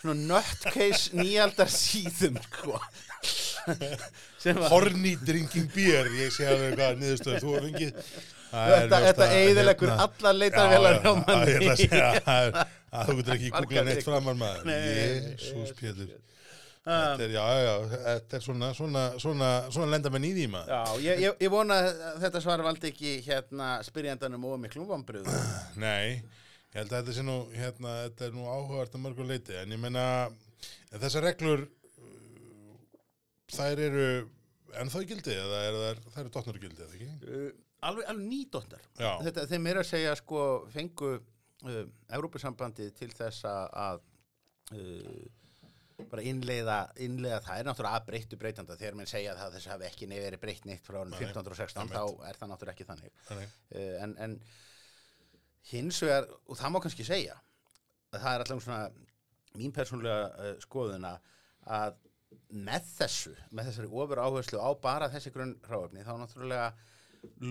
[SPEAKER 2] svona
[SPEAKER 1] *laughs*
[SPEAKER 2] nutcase nýjaldar síðum sko sem að
[SPEAKER 1] horny drinking beer, ég sé alveg hvað niðurstöðu þú hefur fengið. Það er
[SPEAKER 2] þetta,
[SPEAKER 1] ljóst
[SPEAKER 2] þetta
[SPEAKER 1] að,
[SPEAKER 2] eiðilegur
[SPEAKER 1] hérna,
[SPEAKER 2] allar
[SPEAKER 1] Já,
[SPEAKER 2] leitarvelar
[SPEAKER 1] já, já, ég ætla
[SPEAKER 2] hjá
[SPEAKER 1] að
[SPEAKER 2] manni
[SPEAKER 1] segja það er- að þú getur ekki
[SPEAKER 2] Margar
[SPEAKER 1] googlað neitt
[SPEAKER 2] vikur.
[SPEAKER 1] framar maður
[SPEAKER 2] Nei.
[SPEAKER 1] Jésús Pétur Þetta er, já, já, já, þetta er svona svona, svona, svona lenda með nýði maður
[SPEAKER 2] *laughs* Já, ég, ég, ég vona að þetta svar valdi ekki hérna spyrjandanum og miklum vombrið
[SPEAKER 1] *clears throat* Nei, ég held að þetta sé nú hérna, þetta er nú áhugavert að mörgu leiti en ég meina, en þessar reglur uh, þær eru ennþá í gildi eða er, þær, þær eru dottnur í gildi, eða ekki?
[SPEAKER 2] Uh, alveg, alveg nýdóttar
[SPEAKER 1] Já,
[SPEAKER 2] þetta, þeim er að segja sko fengu uh, Evrópusambandið til þess að- að uh, bara innleiða, innleiða það er náttúrulega að breyttu breytanda þegar menn segja það að þess hafi ekki nefnir verið breytt neitt frá árum
[SPEAKER 1] Nei,
[SPEAKER 2] 1516 þá er það náttúrulega ekki þannig
[SPEAKER 1] þannig
[SPEAKER 2] uh, en, en hins vegar og það má kannski segja að það er allavega svona mín persónulega uh, skoðuna að með þessu með þessari ofur áherslu á bara þessi grunn ráöfni þá náttúrulega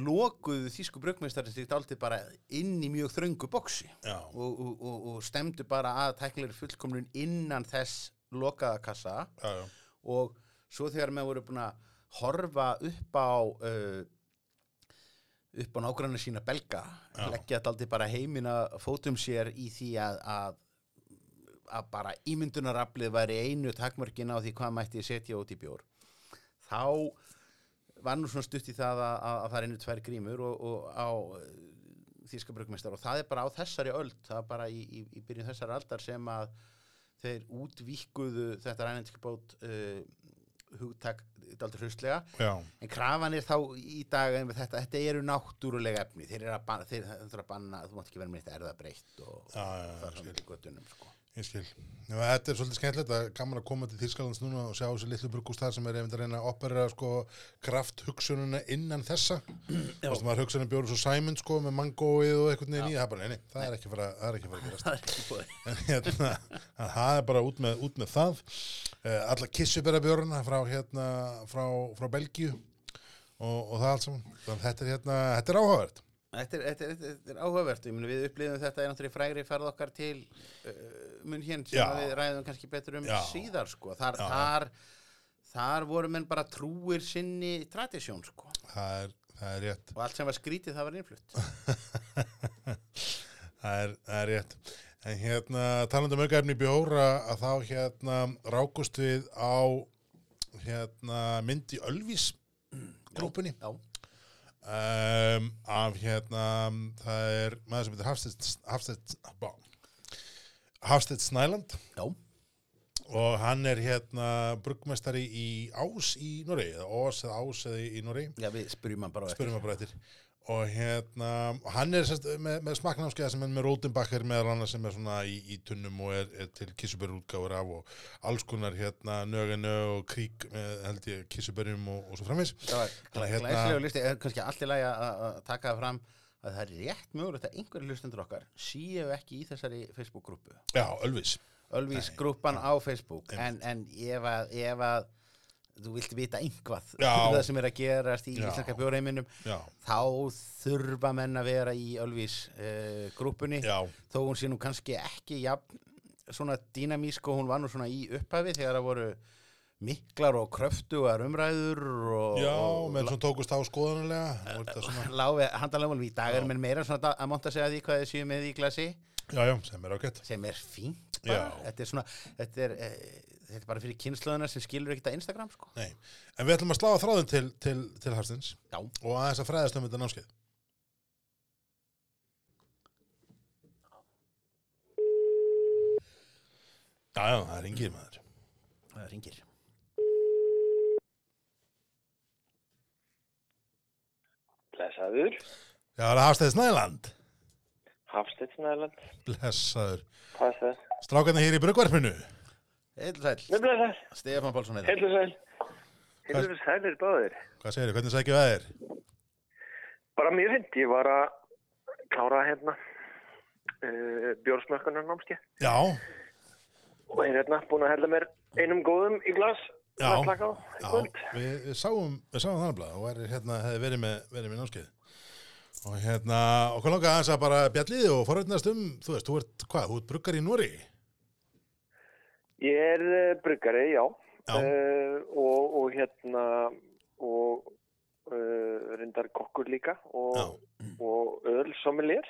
[SPEAKER 2] lokuðu þýsku brugmeistarins því dálítið bara inn í mjög þröngu boksi
[SPEAKER 1] Já,
[SPEAKER 2] og, og, og, og stemdu bara að tæknilegri fullkomnun innan þess lokaða kassa
[SPEAKER 1] já, já,
[SPEAKER 2] og svo þegar maður voru búin að horfa upp á uh, upp á nágrannu sína belga
[SPEAKER 1] Já.
[SPEAKER 2] leggja þetta aldrei bara heimina fótum sér í því að, að að bara ímyndunaraflið væri einu takmörkin á því hvað mætti setja út í bjór þá var nú svona stutt í það að, að, að það er einu tvær grímur og, og á þíska brugmestar og það er bara á þessari öld það er bara í, í, í byrjun þessari aldar sem að þeir útvíkkuðu þetta rænendskipót uh, hugtak daldur hrustlega
[SPEAKER 1] já,
[SPEAKER 2] en krafan er þá í dag einmitt þetta, þetta eru náttúrulega efni þeir eru að banna, þeir, þeir eru að banna þú mátt ekki vera með þetta erðabreitt og
[SPEAKER 1] já, já, já,
[SPEAKER 2] það
[SPEAKER 1] skil.
[SPEAKER 2] sem er göttunum sko. *laughs*
[SPEAKER 1] Ég skil. Já, þetta er svolítið skemmtilegt að gaman að koma til Þýrskalands núna og sjá þessi litlu bruggús þar sem er einmitt að reyna að operera sko krafthugsununa innan þessa. Það sem maður hugsunum bjóður svo Simon sko með mangóið og eitthvað neginn í. Það er bara, nei, nei, það er ekki fara, það er ekki fara að gerast.
[SPEAKER 2] það er ekki búið
[SPEAKER 1] En hérna, en það er bara út með, út með það. Uh, alla kissubera frá hérna, frá, frá Belgíu og, og það allt saman. Þannig að þetta er hérna, þetta er áhugavert.
[SPEAKER 2] Þetta er, þetta, er, þetta er áhugavert, ég meni við upplifum þetta er náttúrulega í frægri ferð okkar til uh, mun hér sem
[SPEAKER 1] Já.
[SPEAKER 2] að við ræðum kannski betur um
[SPEAKER 1] Já.
[SPEAKER 2] síðar sko, þar,
[SPEAKER 1] Já.
[SPEAKER 2] þar, þar voru menn bara trúir sinni tradisjón sko
[SPEAKER 1] Það er, það er rétt.
[SPEAKER 2] og allt sem var skrítið það var
[SPEAKER 1] *laughs*
[SPEAKER 2] innflutt.
[SPEAKER 1] það, er, það er rétt. En hérna, talandi um aukaefni í bjóra að þá hérna rákust við á hérna mynd í Ölvis grúpunni
[SPEAKER 2] Já,
[SPEAKER 1] um, af hérna það er maður sem heitir Hafstedt Hafstedt, bá, Hafstedt Snæland
[SPEAKER 2] já,
[SPEAKER 1] og hann er hérna brugmestari í Ás í Noregi eða Ós eða Ás eða í Noregi
[SPEAKER 2] já við spyrjum hann bara á eftir.
[SPEAKER 1] spyrum að bara eftir og hérna, og hann er sérst, eh, með, með smakknámskeið sem er með Rótenbacher meðal annars sem er svona í, í tunnum og er, er til kissubörur útgáfur af og alls konar hérna nöginu og krík með held ég kissuberjum og, og svo framins
[SPEAKER 2] Það var
[SPEAKER 1] Þannig að
[SPEAKER 2] glæ-
[SPEAKER 1] hérna-
[SPEAKER 2] glæsilegu listi, er kannski allt í lagi að- að að taka það fram að það er rétt mögulegt að einhverju lustendur okkar séu ekki í þessari Facebook-grúpu.
[SPEAKER 1] Já, Ölvis
[SPEAKER 2] Ölvis grúppan á Facebook en, en ef, að, ef að þú vilt vita einhvað
[SPEAKER 1] Já.
[SPEAKER 2] um það sem er að gerast í
[SPEAKER 1] Já.
[SPEAKER 2] íslenska bjórheiminum
[SPEAKER 1] Já,
[SPEAKER 2] þá þurfa menn að vera í Ölvis uh, grúppunni
[SPEAKER 1] já,
[SPEAKER 2] þó hún sé nú kannski ekki jafn, svona dýnamísk og hún var nú svona í upphafi þegar það voru miklar og kröftugar umræður og,
[SPEAKER 1] já,
[SPEAKER 2] og
[SPEAKER 1] menn svona tókust á skoðanulega og þetta
[SPEAKER 2] *laughs*
[SPEAKER 1] svona,
[SPEAKER 2] láfi handalegum um í dag
[SPEAKER 1] Já.
[SPEAKER 2] er menn meira svona að monta sig að því hvað þið séu með í glasi
[SPEAKER 1] já, já, sem er ágætt
[SPEAKER 2] sem er fínt bara,
[SPEAKER 1] Já.
[SPEAKER 2] þetta er svona þetta er, eh, þetta er bara fyrir kynnslöðuna sem skilur ekkert að Instagram sko.
[SPEAKER 1] Nei. En við ætlum að slá að þráðin til, til, til Harstins
[SPEAKER 2] Já.
[SPEAKER 1] og aðeins að fræðast um þetta námskeið. Já, já, það ringir maður.
[SPEAKER 2] það ringir
[SPEAKER 3] Blessaður,
[SPEAKER 1] Já, það er Harstins Næland.
[SPEAKER 3] Hafsteinn Snæland,
[SPEAKER 1] Blessaður.
[SPEAKER 3] hvað er það?
[SPEAKER 1] Strákarnir hér í brugvarpinu.
[SPEAKER 2] Heilu sæl,
[SPEAKER 3] Nei, blessaður,
[SPEAKER 2] Stefán Pálsson hérna. heitir.
[SPEAKER 3] heilur sæl. Heilur sælir báðir.
[SPEAKER 1] Hvað segirðu, hvernig sækjum það er?
[SPEAKER 3] Bara mjög fint, ég var að klára hérna uh, bjórsmökkunar námski
[SPEAKER 1] Já,
[SPEAKER 3] og er hérna búin að hella mér einum góðum í glas.
[SPEAKER 1] Já.
[SPEAKER 3] að slaka á í
[SPEAKER 1] já,
[SPEAKER 3] kvöld.
[SPEAKER 1] við, við sáum, við sáum þannig blað og er, hérna, hefði verið með, verið með námskeið. Og hérna, okkur langar aðeins að bara bjallið og forröndast um, þú veist, þú ert, hvað, þú ert bruggar í Núri?
[SPEAKER 3] Ég er uh, bruggari, já.
[SPEAKER 1] Já.
[SPEAKER 3] Eh, og, og hérna, og uh, reyndar kokkur líka
[SPEAKER 1] Já,
[SPEAKER 3] og, og öðl sommelier.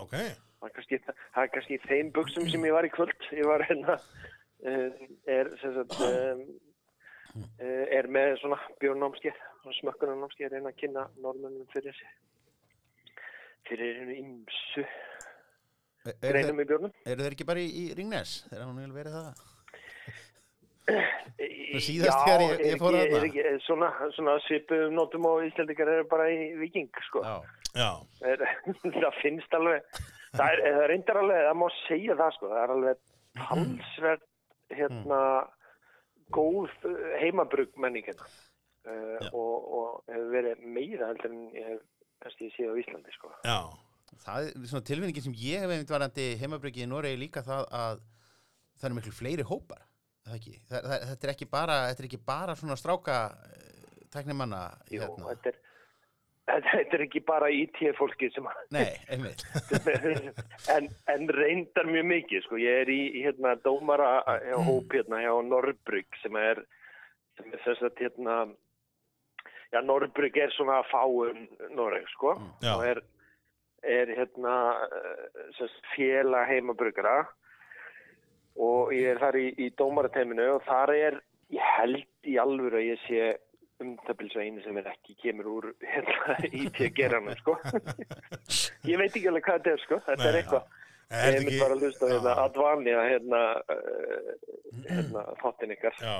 [SPEAKER 1] ok.
[SPEAKER 3] það er kannski, það er kannski í þeim buksum sem ég var í kvöld ég var hérna uh, er sem sagt um, uh, er með svona bjórnámskeið svona smökkunarnámskeið að reyna að kynna normönnum fyrir fyrir hennu ymsu
[SPEAKER 2] Er- eru
[SPEAKER 3] greinum
[SPEAKER 2] þeir-
[SPEAKER 3] í bjórnum
[SPEAKER 2] eru þeir ekki bara í, í Ringnes þegar hann vil verið það
[SPEAKER 3] E, Í-
[SPEAKER 2] síðast
[SPEAKER 3] já,
[SPEAKER 2] þegar ég- ég
[SPEAKER 3] er
[SPEAKER 2] fór
[SPEAKER 3] ekki-
[SPEAKER 2] þarna.
[SPEAKER 3] er ekki- svona, svona svipuðum nótum og íslendingar eru bara í viking sko.
[SPEAKER 2] Já,
[SPEAKER 1] Já,
[SPEAKER 3] er, *laughs* það finnst alveg það er, það er reyndar alveg, það má segja það sko, það er alveg talsvert hérna góð uh, heimabrug menning hérna uh,
[SPEAKER 2] Já.
[SPEAKER 3] og, og hefur verið meira heldur en ég hef kannski séð á Íslandi sko.
[SPEAKER 1] já,
[SPEAKER 2] það er svona tilfinningi sem ég hef einmitt varandi heimabryggi í Noregi líka það að það eru miklu fleiri hópar er það ekki, það, það, þetta, er ekki bara, þetta er ekki bara svona stráka tækni manna
[SPEAKER 3] Jú,
[SPEAKER 2] hérna.
[SPEAKER 3] þetta er *laughs* Þetta þetta er ekki bara IT-fólki sem að-
[SPEAKER 2] Nei, einmitt
[SPEAKER 3] en, en reyndar mjög mikið sko. ég er í í, hérna, dómara hjá hóp hérna hjá Norrbrygg sem er, sem er þess að hérna, já Norrbrygg er svona fáum Norreg sko
[SPEAKER 2] Mm.
[SPEAKER 1] Já.
[SPEAKER 3] og er, er hérna eh, sem sagt, félag heimabryggara og ég er þar í, í dómarateiminu og þar er ég held í alvöru að ég sé umtabils að einu sem er ekki kemur úr hérna, *laughs* IT-geranum sko *laughs* ég veit ekki alveg hvað þetta er sko þetta er
[SPEAKER 1] Nei,
[SPEAKER 3] eitthvað
[SPEAKER 1] Er
[SPEAKER 3] ég
[SPEAKER 1] þetta
[SPEAKER 3] hef
[SPEAKER 1] ekki-
[SPEAKER 3] mér bara að hlusta á hérna
[SPEAKER 1] Já. Mm.
[SPEAKER 3] Advania hérna, uh, hérna þáttin ykkar
[SPEAKER 1] já.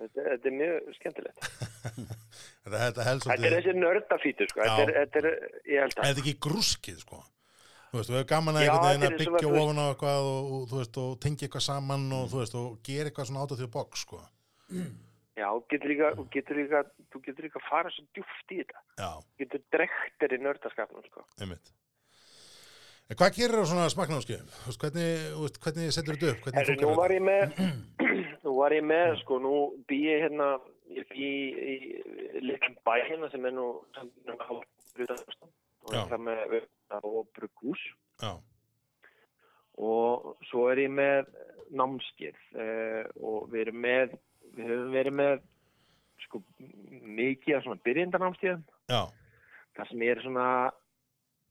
[SPEAKER 3] þetta, þetta er mjög skemmtilegt
[SPEAKER 1] Þetta, þetta helst
[SPEAKER 3] þetta er þessi nördafítur sko þetta er,
[SPEAKER 1] Já.
[SPEAKER 3] þetta er, ég held
[SPEAKER 1] er
[SPEAKER 3] að
[SPEAKER 1] þetta ekki grúskið sko þú veist, við hefur gaman að
[SPEAKER 3] Já,
[SPEAKER 1] einhvern veginn
[SPEAKER 3] þetta
[SPEAKER 1] að
[SPEAKER 3] er svona,
[SPEAKER 1] byggja
[SPEAKER 3] þú veist-
[SPEAKER 1] ofan á eitthvað og, og þú veist, og tengja eitthvað saman og þú veist, og gera eitthvað svona át á því bók sko,
[SPEAKER 3] já, þú getur líka, þú getur líka þú getur líka að fara svo djúft í þetta
[SPEAKER 1] já,
[SPEAKER 3] Þú getur drektir í nördaskapnum sko
[SPEAKER 1] einmitt En hvað gerir það svona smakknámskeið? Þú veist, hvernig, þú veist, hvernig setur þetta upp? Hvernig
[SPEAKER 3] Herri, nú var ég með nú var ég með, sko, nú bý ég hérna ég bý í litlum bæ hérna sem er nú sem er nú hálf- og
[SPEAKER 1] Já.
[SPEAKER 3] er það með hérna vöfna og brugghús
[SPEAKER 1] Já,
[SPEAKER 3] og svo er ég með námskið eh, og við erum með við höfum verið með sko, mikið af svona byrjendanámskið
[SPEAKER 1] já,
[SPEAKER 3] þar sem ég er svona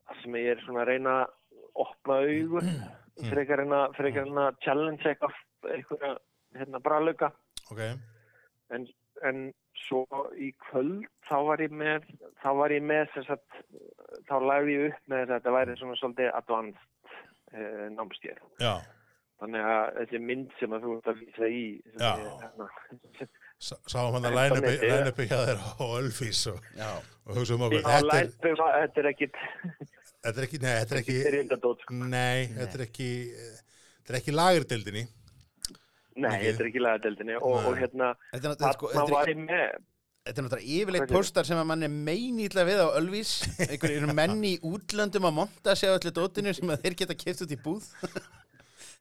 [SPEAKER 3] þar sem ég er svona að reyna að opna augun
[SPEAKER 2] Mm.
[SPEAKER 3] frekar en að frekar en að challenge eitthvað eitthvað hérna bralauka
[SPEAKER 1] ok
[SPEAKER 3] en, en svo í kvöld þá var ég með þá var ég með þess að þá lagði ég upp með þess að þetta væri svona svolítið advanced eh, námskeið
[SPEAKER 1] Já,
[SPEAKER 3] þannig að þessi mynd sem að þú ert að vísa í sem
[SPEAKER 1] Já.
[SPEAKER 3] ég, hérna,
[SPEAKER 1] Sá- sáum hann að
[SPEAKER 3] En
[SPEAKER 1] læna
[SPEAKER 3] þannig
[SPEAKER 1] upp
[SPEAKER 3] er-
[SPEAKER 1] læna upp hjá þér á Ölfís og,
[SPEAKER 2] Já,
[SPEAKER 1] og hugsa um okkur
[SPEAKER 3] á
[SPEAKER 1] þetta er,
[SPEAKER 3] lærdum að þetta er ekkit
[SPEAKER 1] þetta er ekki, nei, þetta er ekki
[SPEAKER 3] byrjendadót sko.
[SPEAKER 1] Nei, þetta er ekki þetta er ekki lagirdildinni
[SPEAKER 3] nei,
[SPEAKER 1] Mikið.
[SPEAKER 3] þetta er ekki lagadeldinni og,
[SPEAKER 1] Nei.
[SPEAKER 3] og hérna,
[SPEAKER 2] þetta er náttúrulega sko,
[SPEAKER 3] þarna
[SPEAKER 2] þetta er-
[SPEAKER 3] var ég með
[SPEAKER 2] þetta er náttúrulega yfirleitt
[SPEAKER 3] Hvað segirðu?
[SPEAKER 2] póstar sem að mann er meinýtla við á Ölvis einhverjum menn í útlöndum að monta sig á öllu dótinu sem að þeir geta keft út í búð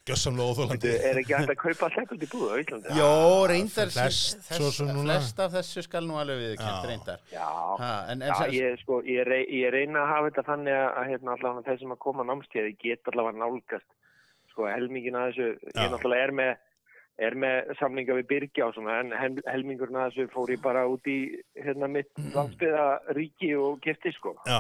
[SPEAKER 1] gjössamlega óþólandi
[SPEAKER 3] Þú *laughs* er ekki hægt að kaupa sekund í búðu á Íslandi?
[SPEAKER 2] Jó, reyndar
[SPEAKER 1] flest, svo sem núna.
[SPEAKER 2] flest af þessu skal nú alveg við
[SPEAKER 1] Já.
[SPEAKER 2] reyndar
[SPEAKER 3] Já,
[SPEAKER 2] ha, en, en,
[SPEAKER 3] já ég, sko, ég, rey, ég reyna að hafa þetta þannig að, að hérna, allavega þeir sem að koma námskeiði geta allavega nálgast sko, helmingin að þessu,
[SPEAKER 1] Já.
[SPEAKER 3] ég náttúrulega er með er með samlinga við Birgjá svona, en hel- helmingurinn að þessu fór ég bara út í hérna mitt
[SPEAKER 1] Mm.
[SPEAKER 3] landsbyða ríki og gifti sko
[SPEAKER 1] Já,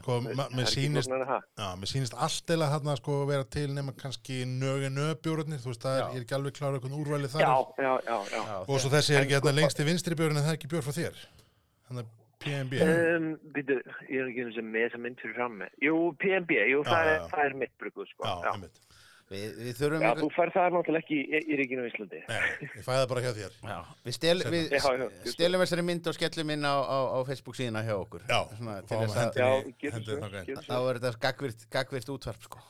[SPEAKER 1] sko, ma-
[SPEAKER 3] Það er
[SPEAKER 1] mér
[SPEAKER 3] ekki
[SPEAKER 1] sýnist,
[SPEAKER 3] flóknara en það.
[SPEAKER 1] já, mér sýnist allt eða þarna sko vera til nema kannski nögin öbjórnir, þú veist, það er,
[SPEAKER 2] Já.
[SPEAKER 1] ég er ekki alveg klára eitthvað úrvæli þar.
[SPEAKER 3] Já, sko-
[SPEAKER 1] er.
[SPEAKER 3] já, já, já.
[SPEAKER 2] Já,
[SPEAKER 1] Og svo þessi er ekki hérna lengst í vinstri bjórn en það er ekki bjór frá þér. Þannig að PNB.
[SPEAKER 3] Um, býtu, ég er ekki einu sem með þess að mynd fyrir fram með. Jú, PMB, jú,
[SPEAKER 1] Já,
[SPEAKER 3] það,
[SPEAKER 1] já,
[SPEAKER 3] er,
[SPEAKER 1] já.
[SPEAKER 3] það er mitt brukuð, sko.
[SPEAKER 1] Já,
[SPEAKER 3] já.
[SPEAKER 1] einmitt.
[SPEAKER 2] Við, við þurfum
[SPEAKER 3] já
[SPEAKER 2] ykkur-
[SPEAKER 3] þú fær það náttúrulega ekki í, í ríkinu í Íslandi.
[SPEAKER 1] Nei, ég fæði það bara hjá þér.
[SPEAKER 2] Já, við, stel, við
[SPEAKER 3] Já, já,
[SPEAKER 2] s- stelum þessari mynd og skellum inn á, á, á Facebook síðuna hjá okkur
[SPEAKER 1] Já,
[SPEAKER 2] Svona, til
[SPEAKER 1] fáum
[SPEAKER 2] þess
[SPEAKER 1] að
[SPEAKER 2] að
[SPEAKER 3] Já,
[SPEAKER 1] hendinni,
[SPEAKER 3] getur
[SPEAKER 1] hendinni
[SPEAKER 3] svo,
[SPEAKER 1] þangað. inn.
[SPEAKER 3] getur
[SPEAKER 2] þá
[SPEAKER 3] svo.
[SPEAKER 2] er þetta gagvirt, gagvirt útvarp sko.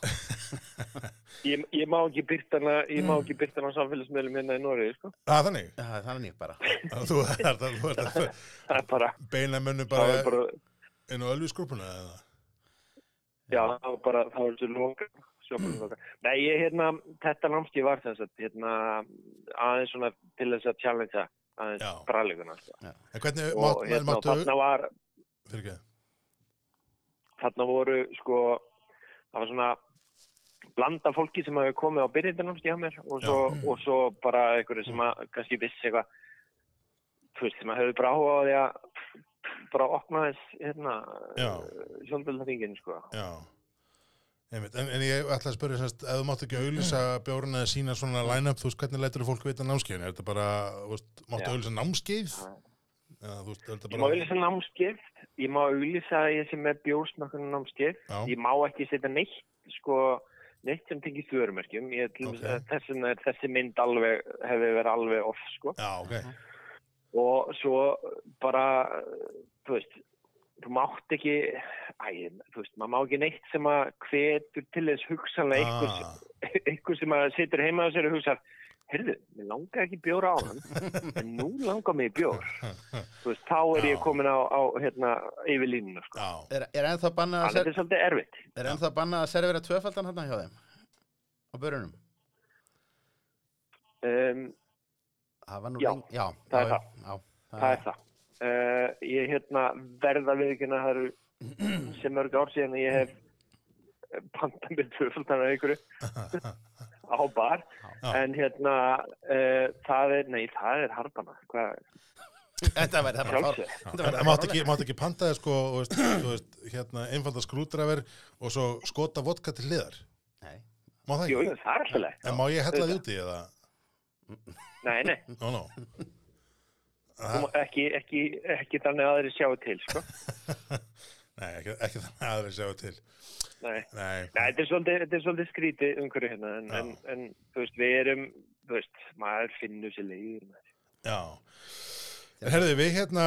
[SPEAKER 3] Ég, ég má ekki byrtana, ég má ekki byrtana á samfélagsmiðlum hérna í Noregi, sko.
[SPEAKER 1] Það er þannig,
[SPEAKER 2] Já, þannig bara
[SPEAKER 1] að þú ert að- þú ert að
[SPEAKER 3] Það er bara,
[SPEAKER 1] beina mönnum
[SPEAKER 3] það
[SPEAKER 1] bara
[SPEAKER 3] er bara,
[SPEAKER 1] inn á ölvisgrúpuna eða?
[SPEAKER 3] já, það er bara, það er svo longa, sjókunum longa. Nei, ég, hérna, þetta námski var þess að, hérna, aðeins svona til þess að challengea, aðeins
[SPEAKER 1] Já. Eh,
[SPEAKER 3] bræðleikuna, sko.
[SPEAKER 1] En hvernig
[SPEAKER 3] Og,
[SPEAKER 1] mátt-
[SPEAKER 3] hérna,
[SPEAKER 1] máttu,
[SPEAKER 3] þarna var,
[SPEAKER 1] fyrir ekki,
[SPEAKER 3] þarna voru sko það var svona blanda fólki sem hafi komið á byrjindarnámski hjá mér og svo,
[SPEAKER 1] Mm.
[SPEAKER 3] og svo bara einhverju sem að kannski vissi eitthvað þú veist, sem að höfðu bara áhuga á því að bara opna þess hérna
[SPEAKER 1] Já.
[SPEAKER 3] sjónbjöldaringin sko
[SPEAKER 1] já. Einmitt. En, en ég ætla að spyrja semst, ef þú mátt ekki auðlýsa bjórna eða sína svona line-up, þú veist, hvernig lætur fólk vita námskeiðin? Er þetta bara, þú veist, máttu
[SPEAKER 3] Já.
[SPEAKER 1] auðlýsa námskeið? Já, þú veist, er þetta
[SPEAKER 3] ég má
[SPEAKER 1] bara...
[SPEAKER 3] auðvitað námskeið ég má auðvitað að ég sem er bjórsmakkan námskeið
[SPEAKER 1] Já.
[SPEAKER 3] ég má ekki setja neitt sko neitt sem tengist vörumerkjum ég, okay.
[SPEAKER 1] Ok.
[SPEAKER 3] þess vegna er þessi mynd alveg hefði verið alveg off sko
[SPEAKER 1] Já, ok.
[SPEAKER 3] og svo bara, þú veist, þú mátt ekki, æ, þú veist, maður má ekki neitt sem að hvetur til þess hugsanlega einhver,
[SPEAKER 1] Ah,
[SPEAKER 3] einhver sem að situr heima á sér og hugsa, heyrðu, mér langar ekki bjóra á hann, en nú langar mér í bjór. Þú veist, þá er
[SPEAKER 1] Já.
[SPEAKER 3] ég komin á, á hérna, yfir línuna, sko.
[SPEAKER 1] já.
[SPEAKER 2] Er, er ennþá bannað að,
[SPEAKER 3] Þannig
[SPEAKER 2] ser,
[SPEAKER 3] þetta er svolítið erfitt.
[SPEAKER 2] er ennþá bannað að servera tvöfaldan hérna hjá þeim á börunum
[SPEAKER 3] Um,
[SPEAKER 2] Það var nú
[SPEAKER 3] Já,
[SPEAKER 2] lengi- já, já,
[SPEAKER 3] það er
[SPEAKER 2] já,
[SPEAKER 3] það.
[SPEAKER 2] já,
[SPEAKER 3] það er það. Uh, ég hérna verða við ekki að það eru
[SPEAKER 1] *clears throat*
[SPEAKER 3] sem mörg ár síðan að ég hef pantað mér tvöfaldan að
[SPEAKER 1] *laughs*
[SPEAKER 3] ykkur á bar
[SPEAKER 1] Já.
[SPEAKER 3] en hérna uh, það er, nei það er harbana Hvað,
[SPEAKER 2] *laughs* Þetta verður það bara
[SPEAKER 3] Sjálfsögð.
[SPEAKER 2] fár- þetta verður
[SPEAKER 1] Það
[SPEAKER 2] það
[SPEAKER 1] mátt
[SPEAKER 2] fáránlegt.
[SPEAKER 1] ekki, mátt ekki panta þér sko, þú veist, þú veist, hérna, einfalda skrúdraver og svo skota vodka til hliðar.
[SPEAKER 2] Nei,
[SPEAKER 1] Má það
[SPEAKER 3] jú,
[SPEAKER 1] ekki?
[SPEAKER 3] jú, það er alltaf leið
[SPEAKER 1] En má ég hella því úti eða?
[SPEAKER 3] nei, nei,
[SPEAKER 1] Nó, nó.
[SPEAKER 3] þú má- ekki, ekki, ekki þannig að þeir sjáu til sko.
[SPEAKER 1] Nei, ekki, ekki þannig að það sjáu til.
[SPEAKER 3] nei.
[SPEAKER 1] Nei,
[SPEAKER 3] Nei, þetta er svolítið, þetta er svolítið skrítið umhverju hérna en,
[SPEAKER 1] Já.
[SPEAKER 3] en, en þú veist, við erum þú veist, maður finnur sér leiður maður.
[SPEAKER 1] já. Herði, við hérna,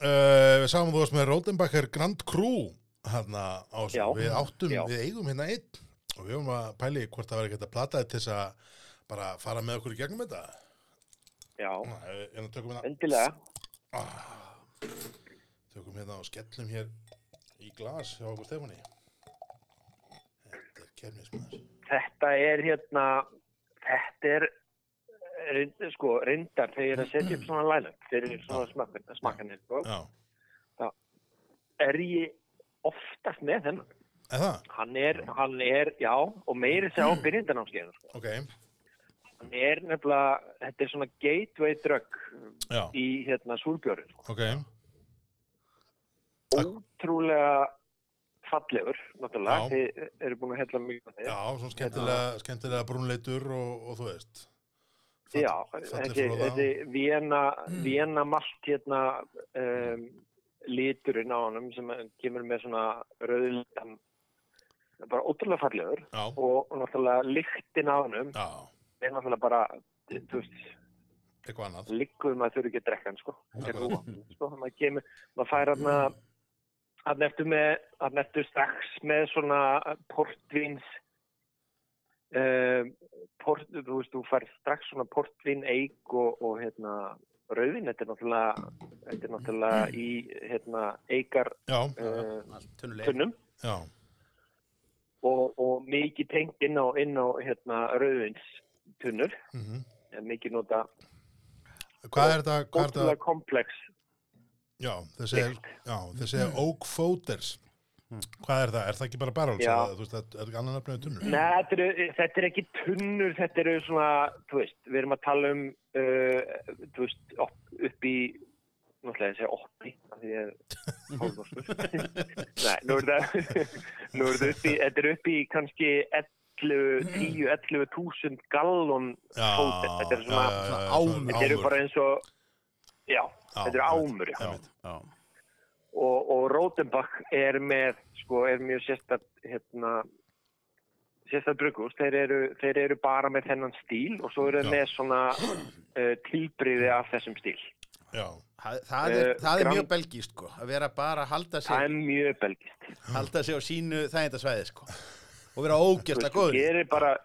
[SPEAKER 1] uh, við sáum þú varst með Rótenbacher Grand Crew hérna á þessu.
[SPEAKER 3] Já.
[SPEAKER 1] Við áttum,
[SPEAKER 3] Já.
[SPEAKER 1] við eigum hérna einn og við höfum að pæli hvort það var ekki hægt að plata þér til þess að bara fara með okkur í gegnum þetta.
[SPEAKER 3] já,
[SPEAKER 1] Nei, Hérna tökum við það.
[SPEAKER 3] endilega
[SPEAKER 1] Tökum hérna og skellum hér í glas hjá okkur Stefáni. Þetta er kermismæður.
[SPEAKER 3] þetta er hérna þetta er reynd, sko, reyndar þegar ég er að setja upp svona lælup fyrir svona smakkan, smakkanir sko.
[SPEAKER 1] Já,
[SPEAKER 3] er ég oftast með þennan
[SPEAKER 1] eða það?
[SPEAKER 3] hann er, hann er, já og meiri sér á byrjindanámskeiðinu sko.
[SPEAKER 1] Ok,
[SPEAKER 3] hann er nefnilega, þetta er svona gateway drug
[SPEAKER 1] já,
[SPEAKER 3] í hérna súrbjörn sko.
[SPEAKER 1] ok,
[SPEAKER 3] ótrúlega fallegur náttúrulega,
[SPEAKER 1] Já.
[SPEAKER 3] þið eru búin að hella mjög á
[SPEAKER 1] já,
[SPEAKER 3] þeir
[SPEAKER 1] svona skemmtilega, skemmtilega brúnleitur og, og þú veist. Fall-
[SPEAKER 3] Já,
[SPEAKER 1] falleg
[SPEAKER 3] þessi,
[SPEAKER 1] froða.
[SPEAKER 3] þessi Vienna, Vienna malt hérna um, liturinn á honum sem kemur með svona rauðlitan bara ótrúlega fallegur
[SPEAKER 1] Já,
[SPEAKER 3] og, og náttúrulega lyktin á honum
[SPEAKER 1] já,
[SPEAKER 3] er náttúrulega bara þú veist,
[SPEAKER 1] eitthvað annað.
[SPEAKER 3] líkuð maður þurfi ekki að drekka hann sko, Þetta er
[SPEAKER 1] Akkurat.
[SPEAKER 3] rúa, sko maður kemur, maður fær hann að hann ertu með, hann ertu strax með svona portvins um, port, þú veist, þú fær strax svona portvin eik og, og hérna rauðin, þetta er náttúrulega þetta er náttúrulega í hérna eikar
[SPEAKER 1] Já,
[SPEAKER 3] uh,
[SPEAKER 2] allt tunnuleg.
[SPEAKER 3] tunnum
[SPEAKER 1] já,
[SPEAKER 3] og, og mikið tengt inn á, inn á hérna rauðins tunnur
[SPEAKER 1] mhm.
[SPEAKER 3] mikið nota
[SPEAKER 1] Hvað er þetta, hvað er þetta,
[SPEAKER 3] ótrúlega komplex
[SPEAKER 1] já, þessi er, já, þessi er Oak Foders.
[SPEAKER 2] Mm.
[SPEAKER 1] Hvað er það? Er það ekki bara barrels?
[SPEAKER 3] Já.
[SPEAKER 1] eða, Þú veist, það er ekki annan öfnum tunnur?
[SPEAKER 3] Nei, þetta eru, þetta eru ekki tunnur, þetta eru svona, þú veist, við erum að tala um, uh, þú veist, upp, upp í, náttúrulega ég segja oppi, af því ég er *laughs* hálfnorskur. Nei, nú er þetta, nú er þetta upp í, þetta eru upp í kannski 11, 10, 11 þúsund gallon fótið. Þetta eru svona,
[SPEAKER 2] ámur.
[SPEAKER 3] þetta eru bara eins og, já, þetta eru ámur, já.
[SPEAKER 1] einmitt.
[SPEAKER 2] Já.
[SPEAKER 3] og, og Rodenbach er með sko, er mjög sérstætt hérna, sérstætt bruggús þeir eru, þeir eru bara með þennan stíl og svo eru
[SPEAKER 1] Já.
[SPEAKER 3] þeir með svona uh, tilbriði af þessum stíl
[SPEAKER 1] Já,
[SPEAKER 2] Það, það, er,
[SPEAKER 3] Eh,
[SPEAKER 2] það er
[SPEAKER 3] Grand-
[SPEAKER 2] mjög belgíst sko, að vera bara að halda
[SPEAKER 3] það
[SPEAKER 2] sig,
[SPEAKER 3] er mjög belgist
[SPEAKER 2] halda sig á sínu þægindasvæði sko og vera ógjörla góður.
[SPEAKER 3] gerir bara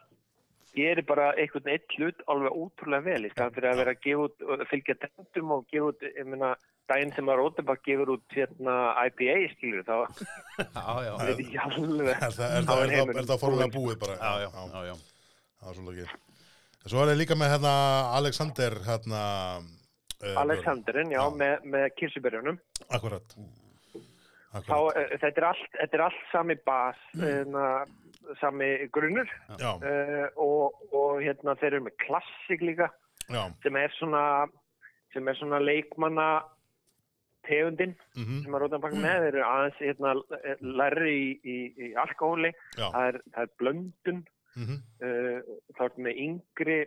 [SPEAKER 3] gerir bara einhvern eitt hlut alveg ótrúlega vel í staðan fyrir að vera að gefa út, og fylgja tendum og gefa út, ég meina daginn sem að Rodenbach gefur út hérna IPA skilur þá
[SPEAKER 2] Já, já,
[SPEAKER 3] er þetta alveg
[SPEAKER 1] er það, er
[SPEAKER 3] Þá
[SPEAKER 1] það,
[SPEAKER 3] er
[SPEAKER 1] er það,
[SPEAKER 3] heimurinn
[SPEAKER 1] er það formulega
[SPEAKER 3] búinn.
[SPEAKER 1] búið bara?
[SPEAKER 2] já, já, já, já.
[SPEAKER 1] Það er svolítið ekki. En Svo er það líka með hérna Alexander hérna... Uh,
[SPEAKER 3] Alexanderin, já,
[SPEAKER 1] Já.
[SPEAKER 3] með, með kirsubyrjunum
[SPEAKER 1] Akkurat.
[SPEAKER 2] Mm.
[SPEAKER 3] þá,
[SPEAKER 1] Akkurat.
[SPEAKER 3] uh, þetta, er allt, þetta er allt sami bas, hérna, sami grunnur
[SPEAKER 1] Já,
[SPEAKER 3] uh, og, og hérna, þeir eru með klassik líka
[SPEAKER 1] já.
[SPEAKER 3] sem er svona, sem er svona leikmanna tegundin
[SPEAKER 1] mhm,
[SPEAKER 3] sem að rótan baka með, þeir eru aðeins hérna, lærri í, í, í alkohóli,
[SPEAKER 1] Já.
[SPEAKER 3] það er, það er blöndun,
[SPEAKER 1] mhm,
[SPEAKER 3] uh, þá er með yngri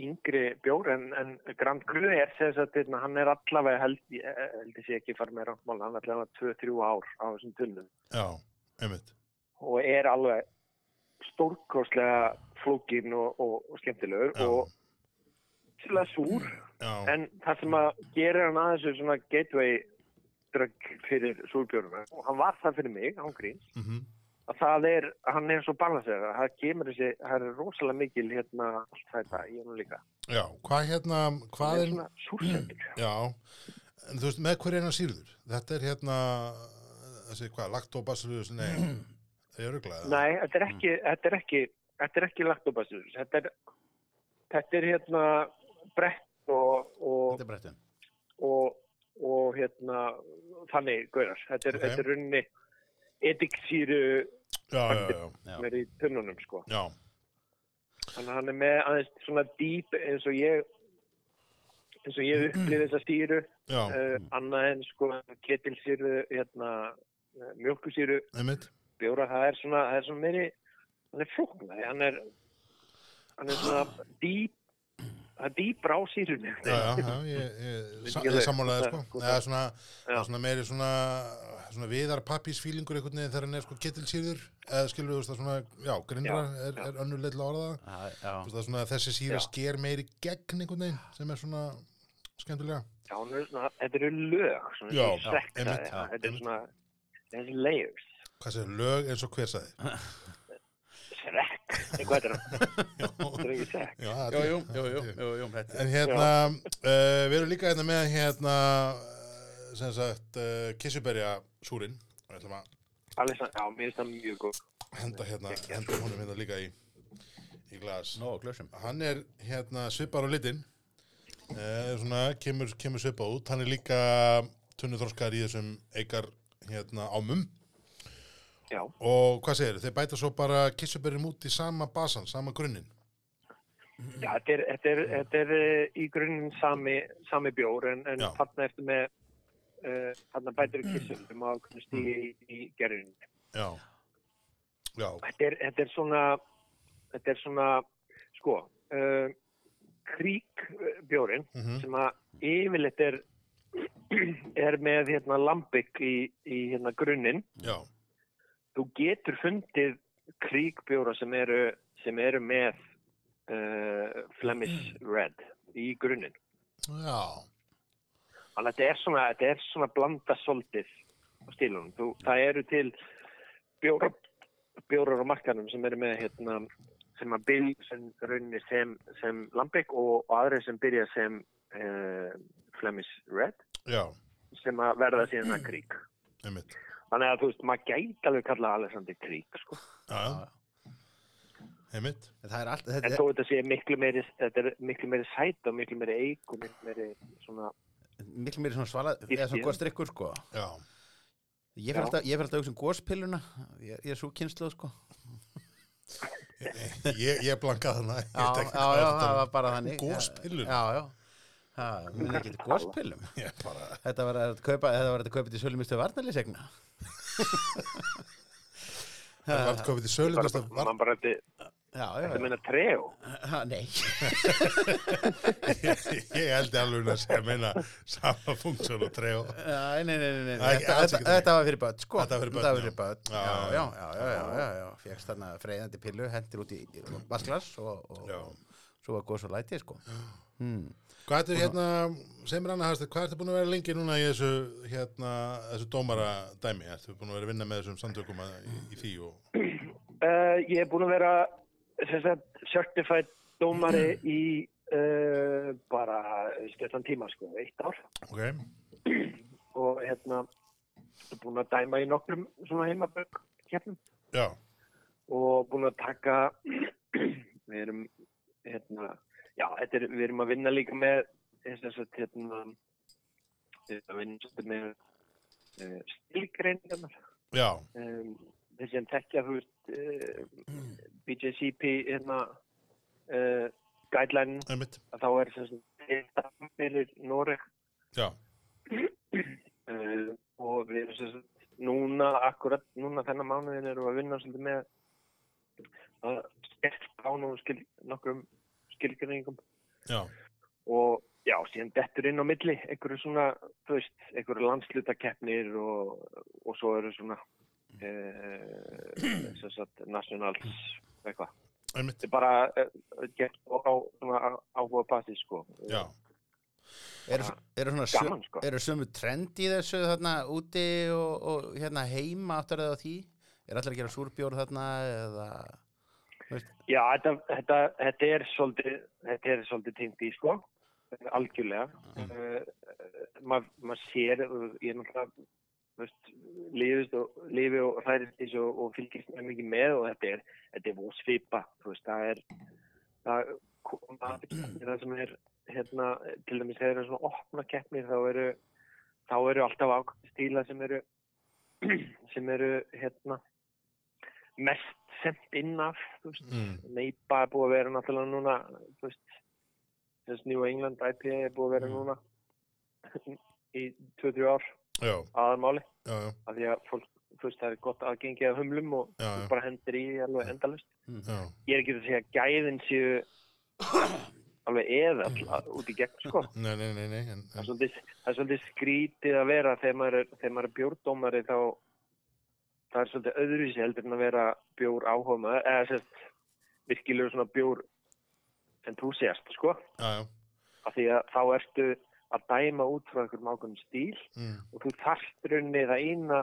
[SPEAKER 3] yngri bjór en, en Grand Cru er sem sagt, hérna, hann er allavega held, ég- eh, held ég sé ekki fara með ráttmál, hann er allavega 2-3 ár á þessum tunnum
[SPEAKER 1] Já, einmitt.
[SPEAKER 3] og er alveg stórkostlega flókin og, og, og skemmtilegur
[SPEAKER 1] Já.
[SPEAKER 3] og svolítið súr
[SPEAKER 1] Já,
[SPEAKER 3] en það sem að gera hann aðeins er svona gateway drögg fyrir súrbjörnum og hann var það fyrir mig, hann gríns
[SPEAKER 1] mhm,
[SPEAKER 3] að það er, hann er svo balansera það kemur þessi, það er rosalega mikil hérna allt þetta í hann líka
[SPEAKER 1] já. Hvað hérna,
[SPEAKER 3] það
[SPEAKER 1] hvað
[SPEAKER 3] er
[SPEAKER 1] er...
[SPEAKER 3] svona súrsendur
[SPEAKER 1] Já, en þú veist, með hverju er hann sýrður? Þetta er hérna, þessi hvað, laktóbasilus, nei, það er auðvitað.
[SPEAKER 3] nei, þetta er ekki, þetta er ekki þetta er ekki laktóbasur þetta er, þetta er hérna brett og, og
[SPEAKER 2] Þetta er brettin.
[SPEAKER 3] og, og hérna þannig gaurar. Þetta er,
[SPEAKER 1] Ok.
[SPEAKER 3] þetta er runni ediksýru
[SPEAKER 1] Já, já, já,
[SPEAKER 2] Já.
[SPEAKER 3] sem er í tunnunum sko.
[SPEAKER 1] já,
[SPEAKER 3] Þannig að hann er með aðeins svona dýp eins og ég eins og ég upplýði þessa sýru
[SPEAKER 1] já,
[SPEAKER 3] uh, annað en sko ketilsýru hérna mjölkusýru
[SPEAKER 1] einmitt.
[SPEAKER 3] bjóra það er svona, það er svona meiri hann er flóknari, hann er hann er svona dýp það er dýpra á sýrunni
[SPEAKER 1] Ah. Já, já, já, ég, ég, sa- ég sammálaði, sko. Það er svona, það er svona meiri svona, svona viðar pappísfílingur einhvern veginn þegar hann er sko ketilsýrður, eða skilur þú veist það svona, já, grindra er, er önnur leið til að orða það.
[SPEAKER 2] Já, já.
[SPEAKER 1] Þú veist það er svona, þessi
[SPEAKER 3] Já.
[SPEAKER 1] síra sker meiri gegn einhvern veginn sem er svona skemmtilega.
[SPEAKER 3] Já, hún er svona, þetta eru lög, svona
[SPEAKER 1] Já,
[SPEAKER 3] svona
[SPEAKER 1] já, einmitt,
[SPEAKER 3] sektaði,
[SPEAKER 1] já,
[SPEAKER 3] þetta er
[SPEAKER 1] einmitt.
[SPEAKER 3] svona, þetta er layers,
[SPEAKER 1] Hvað sér, lög eins og hver sagði?
[SPEAKER 3] sekt, eitthvað er það, þetta er ekki sekt.
[SPEAKER 1] Já, þetta
[SPEAKER 2] Jú,
[SPEAKER 1] er-
[SPEAKER 2] jú, jú, jú, jú, jú, um þetta er.
[SPEAKER 1] En hérna, uh, við erum líka hérna með hérna, eh, sem sagt, uh, kissuberja súrin. Við ætlum að
[SPEAKER 3] Alessand, já, mér finnst það mjög góð.
[SPEAKER 1] henda hérna, henda honum hérna líka í, í glas.
[SPEAKER 2] Nó, glössum.
[SPEAKER 1] Hann er hérna svipar á litin, uh, svona kemur, kemur svipa út. Hann er líka tunnuþroskar í þessum eikar hérna ámum.
[SPEAKER 3] Já,
[SPEAKER 1] Og hvað segir þið? Þeir bæta svo bara kissuberjum út í sama basan, sama grunnin.
[SPEAKER 3] já, þetta er, þetta er, þetta er eh, í grunnum sami, sami bjór, en, en
[SPEAKER 1] Já.
[SPEAKER 3] þarna eftir með, uh, þarna bætir við kissum sem að kunna stíði í, í gerðinu.
[SPEAKER 1] Já. Já,
[SPEAKER 3] Þetta er, þetta er svona, þetta er svona, sko, uh, kríkbjórin
[SPEAKER 1] Mhm.
[SPEAKER 3] sem að yfirleitt er, *clears throat* er með hérna lambik í, í hérna grunninn.
[SPEAKER 1] já,
[SPEAKER 3] Þú getur fundið kríkbjóra sem eru, sem eru með uh, Flemish Red í grunninn.
[SPEAKER 1] já,
[SPEAKER 3] Þannig að þetta er svona, þetta er svona blanda soldið á stílunum. Þú, það eru til bjóra, bjórar á markanum sem eru með hérna, sem að byrja sem rauninni sem, sem Lambek og, og aðrir sem byrja sem uh, Flemish Red
[SPEAKER 1] já,
[SPEAKER 3] sem að verða síðan að krík.
[SPEAKER 1] einmitt.
[SPEAKER 3] Þannig að þú veist, maður gæti alveg kalla Alessandi krík, sko.
[SPEAKER 1] Já, já. einmitt.
[SPEAKER 2] En Það er allt,
[SPEAKER 3] En
[SPEAKER 2] þetta
[SPEAKER 3] þó þetta sé miklu meiri, þetta er miklu meiri sæt og miklu meiri eik og miklu meiri svona,
[SPEAKER 2] er miklu meiri svona svala, eða svona góð strikkur sko.
[SPEAKER 1] Já,
[SPEAKER 2] Ég fer
[SPEAKER 3] Já.
[SPEAKER 2] alltaf, ég fer alltaf að hugsa um góspiluna, ég, ég er svo kynsluð sko.
[SPEAKER 1] Ég, ég blankaði hana. Ég
[SPEAKER 2] Já,
[SPEAKER 1] veit
[SPEAKER 2] já,
[SPEAKER 1] ekki hvað
[SPEAKER 2] já,
[SPEAKER 1] þetta
[SPEAKER 2] það
[SPEAKER 1] er.
[SPEAKER 2] var bara þannig.
[SPEAKER 1] Gospillur?
[SPEAKER 2] Já, já. Ha, minn ekki til góspilum.
[SPEAKER 1] Ég bara,
[SPEAKER 2] Þetta var að kaupa, þetta var að kaupa til sölumistu varnarliðsegna.
[SPEAKER 1] það var komið í
[SPEAKER 3] Bara,
[SPEAKER 1] sölunast að var,
[SPEAKER 3] mann bara þetta,
[SPEAKER 2] Já, já.
[SPEAKER 3] þetta meina treo.
[SPEAKER 2] Ha, nei.
[SPEAKER 1] ég, *laughs* ég held ég alveg að segja meina sama funksjón og treo.
[SPEAKER 2] Nei, nei, nei, nei, nei.
[SPEAKER 1] Nei,
[SPEAKER 2] Þetta,
[SPEAKER 1] alls
[SPEAKER 2] þetta,
[SPEAKER 1] ekki þannig.
[SPEAKER 2] þetta var fyrir börn, sko.
[SPEAKER 1] Þetta var fyrir börn,
[SPEAKER 2] Þetta
[SPEAKER 1] já.
[SPEAKER 2] var fyrir börn, já,
[SPEAKER 1] Já,
[SPEAKER 2] já, já, já, já, já, já. Fjöxt þarna freyðandi pillu, hendir út í vasklas og, og,
[SPEAKER 1] Já.
[SPEAKER 2] og svo var góðs og lætið, sko. Hmm.
[SPEAKER 1] Hvað ertu hérna, sem er annað hægst, hvað ertu búin að vera lengi núna í þessu, hérna, þessu dómara dæmi? Ertu búin að vera að vinna með þessum samtökum að- í, í því og...
[SPEAKER 3] Uh, ég er búin að vera sem sagt, certified dómari í uh, bara stjórnum tíma, sko, eitt ár
[SPEAKER 1] Ok,
[SPEAKER 3] og hérna búin að dæma í nokkrum svona heimabögg hérna
[SPEAKER 1] já,
[SPEAKER 3] og búin að taka *clears throat* við erum hérna, já, þetta er, við erum að vinna líka með þess að hérna við erum að vinna svolítið með uh, stilgreinarnar
[SPEAKER 1] já,
[SPEAKER 3] um, þeir sem tekja þú veist uh, BJCP hérna uh, guideline
[SPEAKER 1] einmitt,
[SPEAKER 3] að þá er sem sagt þetta fyrir Noreg
[SPEAKER 1] já,
[SPEAKER 3] uh, og við erum sem sagt núna, akkurat núna þennan mánuðin erum við að vinna svolítið með að skerpa á nóg skil, nokkrum skilgjörningum
[SPEAKER 1] já,
[SPEAKER 3] og já, síðan dettur inn á milli einhverju svona, þú veist, einhverju landslutakeppnir og, og svo eru svona eh, sem sagt, nationals eitthvað.
[SPEAKER 1] einmitt,
[SPEAKER 3] Þetta er bara eh, gert og á svona á- áhuga basi, sko.
[SPEAKER 1] já.
[SPEAKER 2] Eru, eru svona sö-
[SPEAKER 3] Gaman, sko.
[SPEAKER 2] eru sömu trend í þessu þarna úti og, og hérna heima áttur eða því? Er allir að gera súrbjór þarna eða... þú Veist,
[SPEAKER 3] Já, þetta, þetta, þetta er svolítið, þetta er svolítið tengt í, sko, algjörlega. Mm. Maður ma sér, eh, ég er náttúrulega, þú veist, lífist og, lífi og hræðist þessu og, og fylgist mjög mikið með og þetta er, þetta er vósvipa, þú veist, það er, það koma er það sem er, hérna, til dæmis þegar það eru svona opna keppnir, þá eru, þá eru alltaf ákvæmst stíla sem eru, *clears throat* sem eru, hérna, mest sent inn af, þú veist,
[SPEAKER 1] Mm.
[SPEAKER 3] Neipa er búið að vera náttúrulega núna, þú veist, þess New England IPA er búið að vera núna í 2-3 ár
[SPEAKER 1] Já,
[SPEAKER 3] aðarmáli,
[SPEAKER 1] já, já,
[SPEAKER 3] af því að fólk, þú veist, það er gott aðgengi af humlum og
[SPEAKER 1] Já, já.
[SPEAKER 3] bara hendur í alveg endalust.
[SPEAKER 1] já,
[SPEAKER 3] Ég er ekki að segja að gæðin séu alveg eðall út í gegn, sko.
[SPEAKER 1] nei, nei, nei, nei, en,
[SPEAKER 3] Það er
[SPEAKER 1] en
[SPEAKER 3] svolítið, það er svolítið skrítið að vera þegar maður er, þegar maður er bjórdómari þá það er svolítið öðruvísi heldur en að vera bjór áhóma eða sérst virkilegur svona bjór entúsiast sko
[SPEAKER 1] já, já,
[SPEAKER 3] af því að þá ertu að dæma út frá einhverjum ákveðum stíl
[SPEAKER 1] mm,
[SPEAKER 3] og þú þarft raunni það eina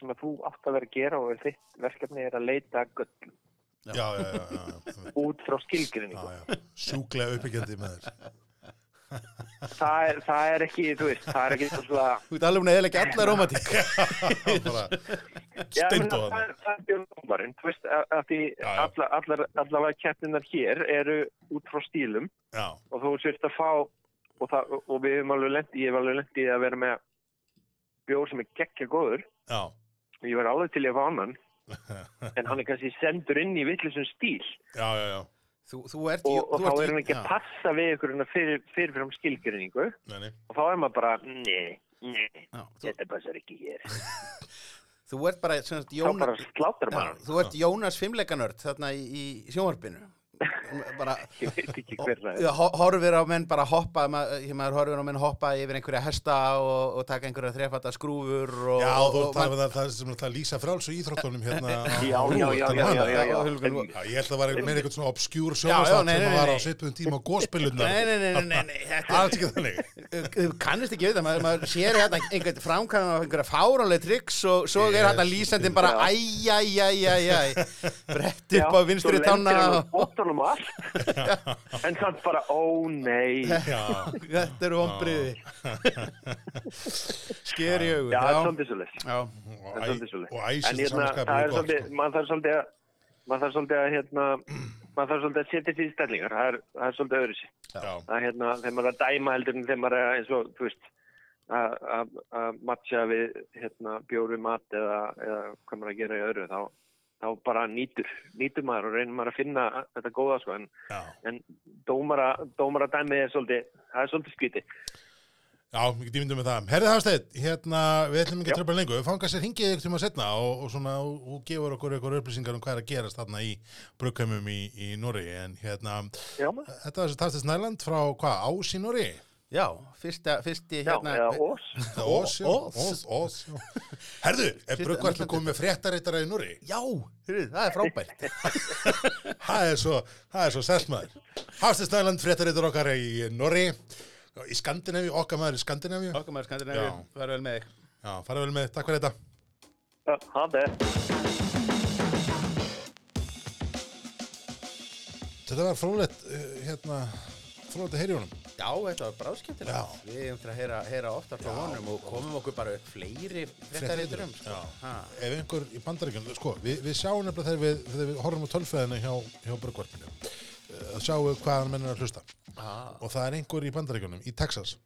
[SPEAKER 3] sem að þú átt að vera að gera og er þitt verkefni er að leita gull
[SPEAKER 1] já, já, já, já, já, einmitt,
[SPEAKER 3] út frá
[SPEAKER 1] já,
[SPEAKER 3] skilgrinningu.
[SPEAKER 1] já, sjúklega uppbyggjandi með
[SPEAKER 2] *laughs*
[SPEAKER 1] þér.
[SPEAKER 3] Það er, það er ekki, þú veist, það er ekki svona
[SPEAKER 2] Þú ert alveg búin að eða ekki alla rómatík.
[SPEAKER 1] Já, bara,
[SPEAKER 3] Já, ég
[SPEAKER 1] steindu
[SPEAKER 3] meina,
[SPEAKER 1] hana.
[SPEAKER 3] það er- það er björnumvarinn, þú veist, að að því
[SPEAKER 1] Já, já.
[SPEAKER 3] alla- allar, allavega keppninar hér eru út frá stílum
[SPEAKER 1] Já,
[SPEAKER 3] og þú sért að fá, og, það, og við hefum alveg lendi, ég hef alveg lendi að vera með bjór sem er geggja góður,
[SPEAKER 1] já,
[SPEAKER 3] og ég var alveg til ég að fá
[SPEAKER 2] *laughs*
[SPEAKER 3] annan, en hann er kannski sendur inn í vittlisum stíl
[SPEAKER 1] já, já, já,
[SPEAKER 2] Þú, þú ert...
[SPEAKER 3] og, og
[SPEAKER 2] þú
[SPEAKER 3] þá
[SPEAKER 2] ert-
[SPEAKER 3] er hann ekki
[SPEAKER 2] já.
[SPEAKER 3] að passa við ykkur hérna fyrir, fyrirfram skilgrinningu
[SPEAKER 1] nei, nei,
[SPEAKER 3] og þá er maður bara, nei, nei,
[SPEAKER 2] Já, þú,
[SPEAKER 3] þetta passar ekki hér.
[SPEAKER 2] þú ert bara, sem sagt,
[SPEAKER 3] Þá bara
[SPEAKER 2] Jónas...
[SPEAKER 3] slátar
[SPEAKER 2] Já,
[SPEAKER 3] maður hann.
[SPEAKER 2] þú ert Jónas fimmleikanörd þarna í, í sjónvarpinu. Bara...
[SPEAKER 3] Ég veit ekki hver það er.
[SPEAKER 2] Já, ho- horfir á menn bara hoppa ma- ég- maður horfir á menn hoppa yfir einhverja hesta og, og taka einhverja þrefata skrúfur og,
[SPEAKER 1] já,
[SPEAKER 2] og,
[SPEAKER 1] þú
[SPEAKER 2] og,
[SPEAKER 1] ert að það, það sem er það lýsa frálsum íþróttunum hérna. á-
[SPEAKER 3] Já,
[SPEAKER 1] á
[SPEAKER 3] já,
[SPEAKER 1] RÚV,
[SPEAKER 3] já,
[SPEAKER 1] þetta er
[SPEAKER 3] já, já,
[SPEAKER 1] hana.
[SPEAKER 3] já, já,
[SPEAKER 2] Já, Hulgur,
[SPEAKER 3] en-
[SPEAKER 1] Já, ég held að það var meira eitthvað svona obskjúr
[SPEAKER 2] Já, já,
[SPEAKER 1] sjónastátt
[SPEAKER 2] nei,
[SPEAKER 1] sem
[SPEAKER 2] nei,
[SPEAKER 1] var á
[SPEAKER 2] nei.
[SPEAKER 1] svipuðum tíma á góspilunnar.
[SPEAKER 2] nei, nei, nei, nei, nei, nei þetta
[SPEAKER 1] Það er
[SPEAKER 2] er
[SPEAKER 1] ekki þannig.
[SPEAKER 2] Þú kannist ekki við það, maður, maður sér hérna einhvern framkvæmum af einhverja fáránlega triks og svo er hérna lýsandinn bara
[SPEAKER 3] Já.
[SPEAKER 2] æj, æj, æj, æj, æj brett upp á vinstri tanna og
[SPEAKER 3] bóttanum allt en samt bara, ó nei
[SPEAKER 1] *laughs* Já,
[SPEAKER 2] þetta eru
[SPEAKER 1] *laughs*
[SPEAKER 2] ombriði sker í augun
[SPEAKER 3] já, það er
[SPEAKER 2] já,
[SPEAKER 3] svolítið svolítið
[SPEAKER 2] já,
[SPEAKER 1] og
[SPEAKER 3] Það er
[SPEAKER 1] æ-
[SPEAKER 3] svolítið svolítið.
[SPEAKER 1] og
[SPEAKER 3] En
[SPEAKER 1] æsist
[SPEAKER 3] hérna,
[SPEAKER 1] samskapið
[SPEAKER 3] það
[SPEAKER 1] er
[SPEAKER 3] er
[SPEAKER 1] gott.
[SPEAKER 3] svolítið,
[SPEAKER 1] sko.
[SPEAKER 3] maður þarf svolítið að maður þarf svolítið að hérna maður þarf svolítið að setja sér í stellingar það er, það er svolítið öðru sér
[SPEAKER 1] Já,
[SPEAKER 3] það er hérna, þegar maður er að dæma heldur en þegar maður er að- eins og, þú veist að- að að matcha við hérna, bjóru mat eða, eða hvað maður að gera í öðru þá, þá bara nýtur, nýtur maður og reynir maður að finna þetta góða sko en,
[SPEAKER 1] Já,
[SPEAKER 3] en dómara, dómara dæmið er svolítið, það er svolítið skviti.
[SPEAKER 1] já, mikið dýmyndum með það. Herðið Hafsteinn, hérna, við ætlum ekki
[SPEAKER 3] Já.
[SPEAKER 1] að tröfla lengur. Við fangast þér hingið ykkur tíma setna og, og svona, og, og gefur okkur ykkur upplýsingar um hvað er að gerast þarna í brugheimum í, í Noregi. En hérna,
[SPEAKER 3] Já, maður.
[SPEAKER 1] þetta var þessi Tarstins Næland frá hvað, Ás í Noregi?
[SPEAKER 2] Já, fyrsta, fyrsti
[SPEAKER 3] Já,
[SPEAKER 2] hérna
[SPEAKER 3] eða ós.
[SPEAKER 1] Ós, já,
[SPEAKER 2] Ós.
[SPEAKER 1] Ós, Ós, já. Herðu, er
[SPEAKER 2] Fyrsta-
[SPEAKER 1] brugvartlu komið með fréttareittara í Noregi?
[SPEAKER 2] Já, heyrðu, það er frábært
[SPEAKER 1] Það er svo, það er svo selmaður. Hafsteinn Snæland, fréttareitur okkar í Norri, í Skandinavíu, okkar maður í Skandinavíu.
[SPEAKER 2] Okkar maður skandir nefnir,
[SPEAKER 1] Já.
[SPEAKER 2] það er vel með þig
[SPEAKER 1] Já, fara vel með, takk fyrir þetta.
[SPEAKER 3] Já, það er.
[SPEAKER 1] Þetta var frólægt, eh, hérna, frólægt að heyri honum.
[SPEAKER 2] Já, þetta var bráðskemmtilegt.
[SPEAKER 1] Já.
[SPEAKER 2] Við erum til að heyra, heyra ofta frá honum og komum okkur bara upp fleiri fréttariturum.
[SPEAKER 1] Já.
[SPEAKER 2] um, sko. Ha.
[SPEAKER 1] Ef einhver í bandaríkjum, sko, við, við sjáum nefnilega þegar við, þegar við horfum á tölfræðina hjá, hjá Bröggvarpinu, að sjáum við hvaðan mennir að hlusta.
[SPEAKER 2] Ah,
[SPEAKER 1] Og það er einhver í bandaríkjunum, í Texas,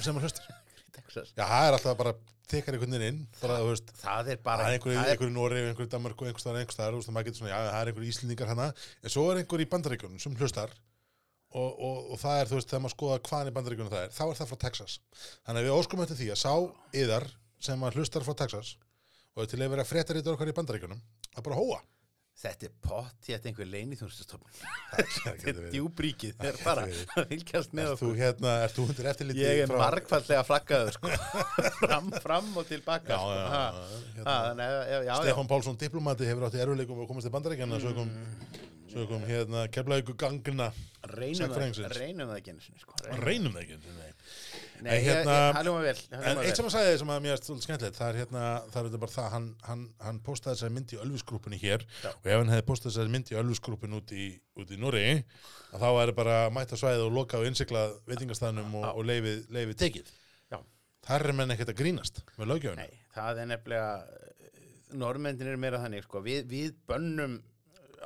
[SPEAKER 1] sem að hlusta.
[SPEAKER 2] í Texas.
[SPEAKER 1] Já, það er alltaf bara tekar einhvern veginn inn, bara, þú veist,
[SPEAKER 2] Það er
[SPEAKER 1] Það
[SPEAKER 2] bara...
[SPEAKER 1] er einhverju
[SPEAKER 2] það
[SPEAKER 1] einhver í Noregi, einhverju í Danmarku, einhverju staðar, einhverju staðar, þú veist, maður getur svona, já, það er einhverju íslendingar hana, en svo er einhverju í bandaríkjunum sem hlustar og, og, og það er, þú veist, þegar maður skoða hvaðan í bandaríkjunum það er, þá er það frá Texas. Þannig að við óskum eftir því að sá yðar sem að hlustar frá Texas og er til að vera fréttarítur okkar í bandaríkjunum, að bara hóa.
[SPEAKER 2] Þetta er pott í þetta einhver leinithjónustastofn.
[SPEAKER 1] *laughs* Það
[SPEAKER 2] Þetta
[SPEAKER 1] getur
[SPEAKER 2] er
[SPEAKER 1] verið.
[SPEAKER 2] djúbríkið. Það er bara
[SPEAKER 1] verið.
[SPEAKER 2] að *laughs* fylgjast með
[SPEAKER 1] Ert þú
[SPEAKER 2] okkur.
[SPEAKER 1] hérna, ert þú undir eftirliti
[SPEAKER 2] Ég er
[SPEAKER 1] frá-
[SPEAKER 2] margfallega flaggaður,
[SPEAKER 1] *laughs*
[SPEAKER 2] sko. fram, fram og tilbaka,
[SPEAKER 1] Já,
[SPEAKER 2] sko.
[SPEAKER 1] já,
[SPEAKER 2] Ha.
[SPEAKER 1] já,
[SPEAKER 2] Ha,
[SPEAKER 1] hérna.
[SPEAKER 2] Þannig að, já, já, já.
[SPEAKER 1] Stefán Pálsson diplomati hefur átt í erfileikum og komist til bandaríkjana sögum, sögum hérna, keflaðið gangina
[SPEAKER 2] Mm. Reynum það,
[SPEAKER 1] sagnfræðingsins.
[SPEAKER 2] reynum það ekki einu sinni, sko. Reynum.
[SPEAKER 1] reynum það ekki nei.
[SPEAKER 2] Nei,
[SPEAKER 1] En
[SPEAKER 2] hérna,
[SPEAKER 1] hérna-
[SPEAKER 2] það ljóma vel. það
[SPEAKER 1] En
[SPEAKER 2] hljómar
[SPEAKER 1] eitt
[SPEAKER 2] vel.
[SPEAKER 1] sem að sagði sem að mér er svolítið skemmtilegt það er hérna, það er þetta bara það hann, hann, hann postaði þessari mynd í Ölvisgrúpunni hér
[SPEAKER 2] Já.
[SPEAKER 1] og ef hann hefði postað þessari mynd í Ölvisgrúpun út í, út í Núri þá væri bara mætt að svæða og loka og innsikla veitingastæðnum og, og leifið, leifið tekið
[SPEAKER 2] Já.
[SPEAKER 1] þar er menn ekkert að grínast með lögjöfuna
[SPEAKER 2] Nei, það er nefnilega normendin er meira þannig sko. við, við bönnum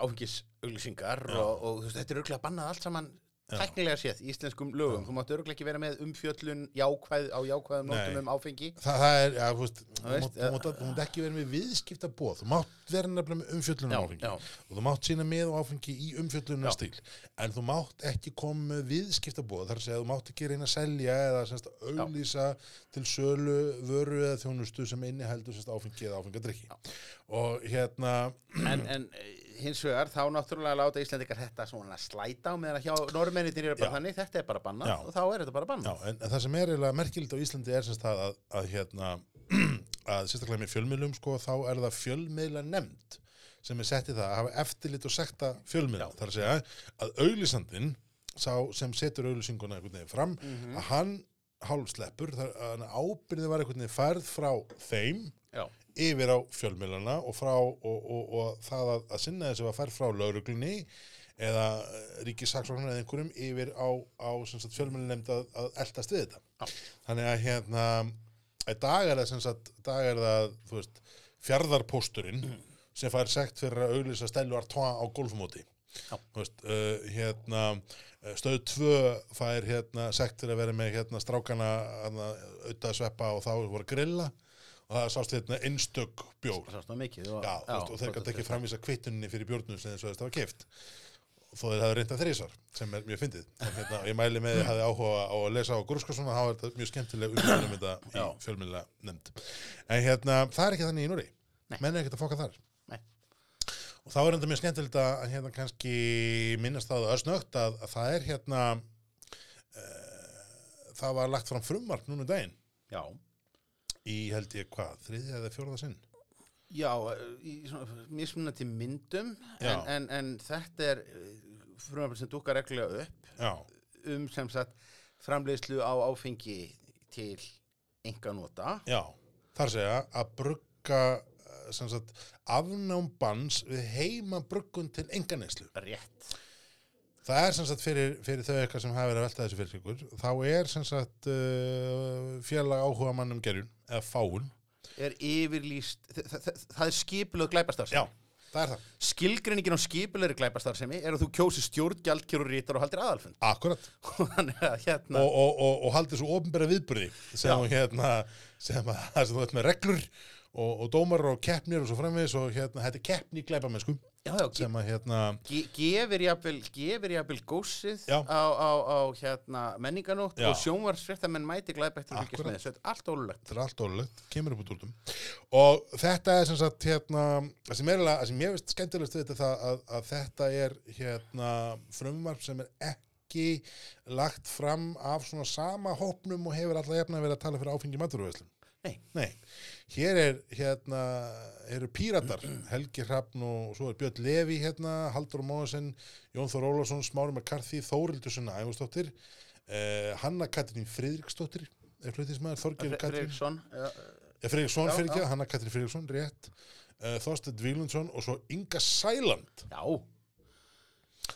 [SPEAKER 2] áfengisauglýsingar og, og þú veist, þetta er örgulega bannað allt saman teknilega séð í íslenskum lögum þú mátt örgulega ekki vera með umfjöllun jákvæð, á jákvæðum
[SPEAKER 1] Nei.
[SPEAKER 2] nótum um áfengi
[SPEAKER 1] Þa, það er, já, þú veist, þú
[SPEAKER 2] veist,
[SPEAKER 1] mátt- þú mátt þú mátt ekki vera með viðskipta bóð, þú mátt vera nefnilega með umfjöllunum
[SPEAKER 2] Já,
[SPEAKER 1] áfengi
[SPEAKER 2] já.
[SPEAKER 1] og þú mátt sína með á áfengi í umfjöllunum
[SPEAKER 2] Já.
[SPEAKER 1] stíl, en þú mátt ekki koma með viðskipta bóð, þar að segja að þú mátt ekki reyna að selja eða semst að auglýsa til sölu vöru eða þjónustu sem inniheldur semst áfengi eða áfengadrykki og hérna,
[SPEAKER 2] en, en eh, hins vegar þá náttúrulega láta íslendingar þetta svona slæta á meðan að hjá normendin eru bara
[SPEAKER 1] Já.
[SPEAKER 2] þannig þetta er bara bannað
[SPEAKER 1] Já.
[SPEAKER 2] og þá er þetta bara
[SPEAKER 1] já,
[SPEAKER 2] bannað
[SPEAKER 1] en, en það sem er eiginlega merkilegt á Íslandi er semst það að, að hérna, *clears throat* að sérstaklega með fjölmiðlum sko, þá er það fjölmiðla nefnd sem er sett í það að hafa eftirlit og sekta fjölmiðla, þar að segja að auglýsandinn, sá sem setur auglýsinguna einhvern veginn fram, að hann hálfsleppur, þar að ábyrðið var einhvern veginn færð frá þeim
[SPEAKER 2] já,
[SPEAKER 1] yfir á fjölmiðlana og, frá, og, og, og það að, að sinna þessu að færð frá lauruglunni eða ríkisaksóknar eða einhverjum yfir á, á fjölmjölunemnd að, að eldast við þetta. Þannig að hérna, í dag er það, sem sagt, í dag er það þú veist, fjardarpósturinn sem fær sekt fyrir að auglýsa stelu Artois á golfmóti.
[SPEAKER 2] Já.
[SPEAKER 1] Þú Veist, uh, hérna, stöð 2 fær hérna, sekt fyrir að vera með hérna, strákana hérna, auðvitað sveppa og þá voru að grilla og það sást hérna einstök bjór
[SPEAKER 2] það sást nú mikið og,
[SPEAKER 1] Já, já, og þeir gæti ekki framvísa kvittunni fyrir bjórnum sem þess að það var keft þó þeir hafi reynda þrísar sem er mjög fyndið En hérna, ég mæli með þið hafi áhuga á að lesa á Grúskarsson þá er þetta mjög skemmtileg umhverjum þetta í fjölmjöla nefnd en hérna, það er ekki þannig í Núri menn er ekkert að fóka þar
[SPEAKER 2] Nei.
[SPEAKER 1] og þá er þetta mjög skemmtilegt að hérna kannski minnast það ösnögt að, að það er hérna uh, það var lagt fram frumvarp núna um daginn
[SPEAKER 2] já,
[SPEAKER 1] í held ég hvað, þriðja eða fjóraða sinn
[SPEAKER 2] Já, eh, í svona mismunandi myndum en,
[SPEAKER 1] Já.
[SPEAKER 2] en, en þetta er frumarbyrð sem dúkar reglulega upp
[SPEAKER 1] Já,
[SPEAKER 2] um sem sagt framleiðslu á áfengi til enga nota
[SPEAKER 1] já, þar segja að brugga eh, sem sagt afnám bans við heima bruggun til enganeyslu.
[SPEAKER 2] rétt
[SPEAKER 1] Það er sem sagt fyrir, fyrir þau eitthvað sem hafa verið að velta þessu fyrir ykkur, þá er sem sagt uh, félag áhuga mann um gerjun eða fáun.
[SPEAKER 2] er yfirlýst, þa þa þa það er skipulöð glæpastar
[SPEAKER 1] Já, það er það,
[SPEAKER 2] Skilgreiningin á skipulegri glæpastarfsemi er að þú kjósi stjórn, gjaldkjör og rítar og haldir aðalfund. *laughs*
[SPEAKER 1] akkurat
[SPEAKER 2] Þannig að hérna...
[SPEAKER 1] og, og, og, og haldið svo ofinbæra viðburði sem,
[SPEAKER 2] Já.
[SPEAKER 1] að, hérna, sem, að, þar sem þú ert með reglur og, og dómar og keppnir og svo framvegis og hérna, þetta er keppni í glæpamennskum
[SPEAKER 2] já, já,
[SPEAKER 1] sem að hérna,
[SPEAKER 2] ge- gefur jafnvel, gefur jafnvel gósið
[SPEAKER 1] Já.
[SPEAKER 2] á, á, á hérna, menninganótt
[SPEAKER 1] Já.
[SPEAKER 2] og sjónvarsfréttamenn mæti glæpa eftir að fylgjast
[SPEAKER 1] Akkúrat.
[SPEAKER 2] með þessu, þetta er allt ólulegt.
[SPEAKER 1] þetta er allt ólulegt, kemur upp úr dúldum og þetta er sem sagt hérna, það sem, er, eiginlega- það sem ég veist skemmtilegst við þetta er það að, að þetta er hérna, frumvarp sem er ekki lagt fram af svona sama hópnum og hefur alltaf jafna verið að tala fyrir áfengi maturvæslum
[SPEAKER 2] Nei.
[SPEAKER 1] Nei, hér er hérna, eru píratar, *clears throat* Helgi Hrafn og svo er Björn Levi hérna, Haldur Móðusen, Jón Þór Ólafsson, Smári McCarthy, Þórildur Sunna Ægúsdóttir, eh, Hanna Katrín Friðriksdóttir, er fluttinsmaður, Þorgeir Katrín,
[SPEAKER 2] Friðriksson, já,
[SPEAKER 1] eh, Friðriksson
[SPEAKER 2] Já,
[SPEAKER 1] fyrir ekki,
[SPEAKER 2] já.
[SPEAKER 1] Hanna Katrín Friðriksson, rétt, eh, Þorsteinn Víglundsson og svo Inga Sæland,
[SPEAKER 2] já,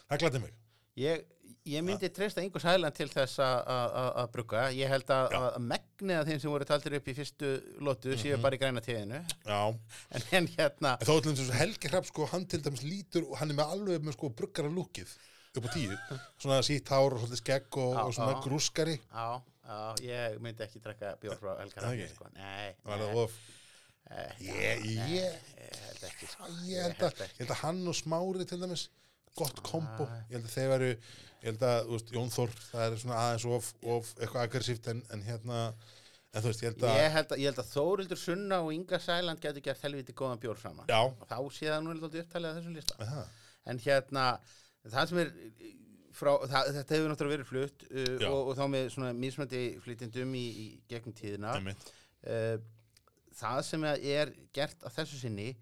[SPEAKER 1] það glæti mig.
[SPEAKER 2] Ég, ég myndi treysta yngur sælan til þess að- að að- að brugga. Ég held að,
[SPEAKER 1] Já.
[SPEAKER 2] að megnið af þeim sem voru taldir upp í fyrstu lotu séu
[SPEAKER 1] Mhm.
[SPEAKER 2] bara í græna tíðinu.
[SPEAKER 1] Já,
[SPEAKER 2] En, en hérna,
[SPEAKER 1] en þá ætlum þess að Helgi Hrafn sko, hann til dæmis lítur, og hann er með alveg með sko bruggara lúkið upp á tíu, svona sítt hár og svolítið skegg og,
[SPEAKER 2] Já,
[SPEAKER 1] og svona
[SPEAKER 2] já.
[SPEAKER 1] grúskari.
[SPEAKER 2] á, á, ég myndi ekki drekka bjór frá Helga
[SPEAKER 1] Það
[SPEAKER 2] Rafni,
[SPEAKER 1] ekki?
[SPEAKER 2] sko. Nei,
[SPEAKER 1] Var
[SPEAKER 2] nei,
[SPEAKER 1] það of?
[SPEAKER 2] eh,
[SPEAKER 1] Ég, ég,
[SPEAKER 2] ég held ekki, sko.
[SPEAKER 1] ég held að, ég held að hann og Smári til dæmis, gott kombo,
[SPEAKER 2] Ah.
[SPEAKER 1] ég held að þeir veru, ég held að, þú veist, Jón Þór, það er svona aðeins of, of eitthvað aggressíft en, en hérna, en þú veist, ég held að,
[SPEAKER 2] Ég held að, ég held að Þórildur Sunna og Inga Sæland getur gert helviti góðan bjór saman.
[SPEAKER 1] já,
[SPEAKER 2] Og Þá sé það nú eitthvað upptalið að þessum lista.
[SPEAKER 1] með það,
[SPEAKER 2] en hérna það sem er eh, frá, það, þetta hefur náttúrulega verið flutt uh,
[SPEAKER 1] Já.
[SPEAKER 2] og, og þá með svona mismöndi flytjendum í, í gegnum tíðina
[SPEAKER 1] einmitt,
[SPEAKER 2] uh, það sem að er gert á þessu sinni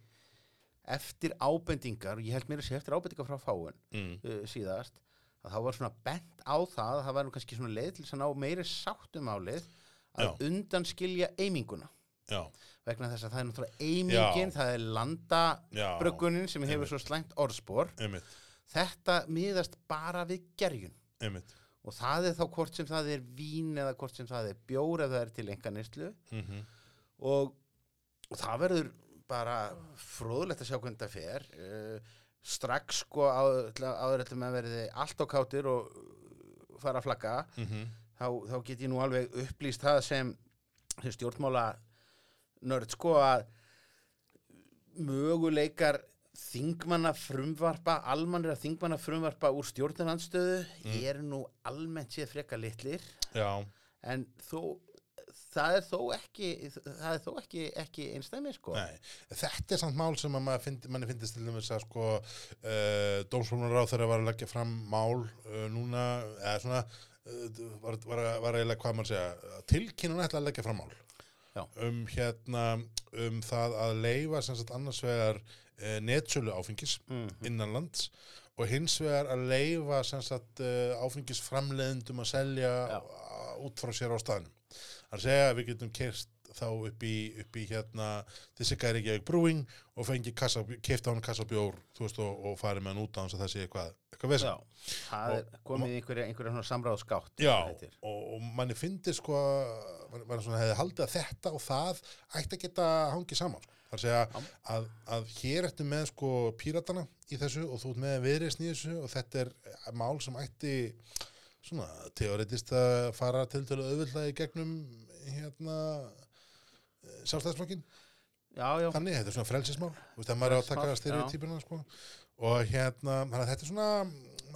[SPEAKER 2] eftir ábendingar og ég held mér að sé eftir ábendingar frá fáun
[SPEAKER 1] mm,
[SPEAKER 2] uh, síðast að þá var svona bent á það að það var nú kannski svona leið til þess að ná meiri sáttum álið
[SPEAKER 1] Já.
[SPEAKER 2] að undanskilja eiminguna
[SPEAKER 1] já,
[SPEAKER 2] vegna þess að það er náttúrulega eimingin, það er
[SPEAKER 1] Já.
[SPEAKER 2] landabröggunin sem hefur svo slæmt orðspor
[SPEAKER 1] einmitt,
[SPEAKER 2] þetta miðast bara við gerjun
[SPEAKER 1] einmitt,
[SPEAKER 2] og það er þá hvort sem það er vín eða hvort sem það er bjór eða það er til enga neyslu
[SPEAKER 1] mhm,
[SPEAKER 2] og, og það verður bara fróðlegt að sjá hvernig þetta fer uh, strax sko áður áður ætlum að verði allt á kátir og uh, fara að flagga
[SPEAKER 1] mhm,
[SPEAKER 2] þá, þá get ég nú alveg upplýst það sem, sem stjórnmála nörd sko að möguleikar þingmanna frumvarpa, almannir að þingmanna frumvarpa úr stjórnarhandstöðu mm. er nú almennt séð frekar litlir
[SPEAKER 1] já,
[SPEAKER 2] en þó það er þó ekki það er þó ekki, ekki einstæmi sko
[SPEAKER 1] nei, þetta er samt mál sem að maður fyndi, manni fyndist til dæmis að sko, uh, dómsfólmunar á þeirra var að leggja fram mál uh, núna, eða svona, uh, var, var, að- var eiginlega hvað maður segja, tilkynna ætla að leggja fram mál.
[SPEAKER 2] Já.
[SPEAKER 1] um hérna um það að leifa sem sagt annars vegar e, netsölu áfengis
[SPEAKER 2] Mm.
[SPEAKER 1] innanlands og hins vegar að leifa sem sagt e, áfengisframleiðendum að selja
[SPEAKER 2] Já.
[SPEAKER 1] a- út frá sér á staðnum hann segja að við getum kerst þá upp í, upp í hérna þessi gæri ekki brúing og fengi kassa, kefta hann kassabjór þú veist, og, og farið með hann út á hans að það sé eitthvað, eitthvað vesen.
[SPEAKER 2] Já, það
[SPEAKER 1] Og-
[SPEAKER 2] er komið í einhverja, einhverja svona samráðskátt
[SPEAKER 1] Já,
[SPEAKER 2] þetta er.
[SPEAKER 1] og, og manni fyndi sko manni, manni svona hefði haldið að þetta og það ætti að geta hangið saman sko. þar segja að, að hér ertu með sko píratana í þessu og þú ert með viðreisn í þessu og þetta er eh, mál sem ætti svona teoretist að fara til til auðvitað í gegnum hérna sjálfstæðsflokkin
[SPEAKER 2] já, já,
[SPEAKER 1] þannig, þetta er svona frelsismál þú veist að maður er að taka
[SPEAKER 2] Frelsismál,
[SPEAKER 1] stereotypuna sko. og hérna, þannig að þetta er svona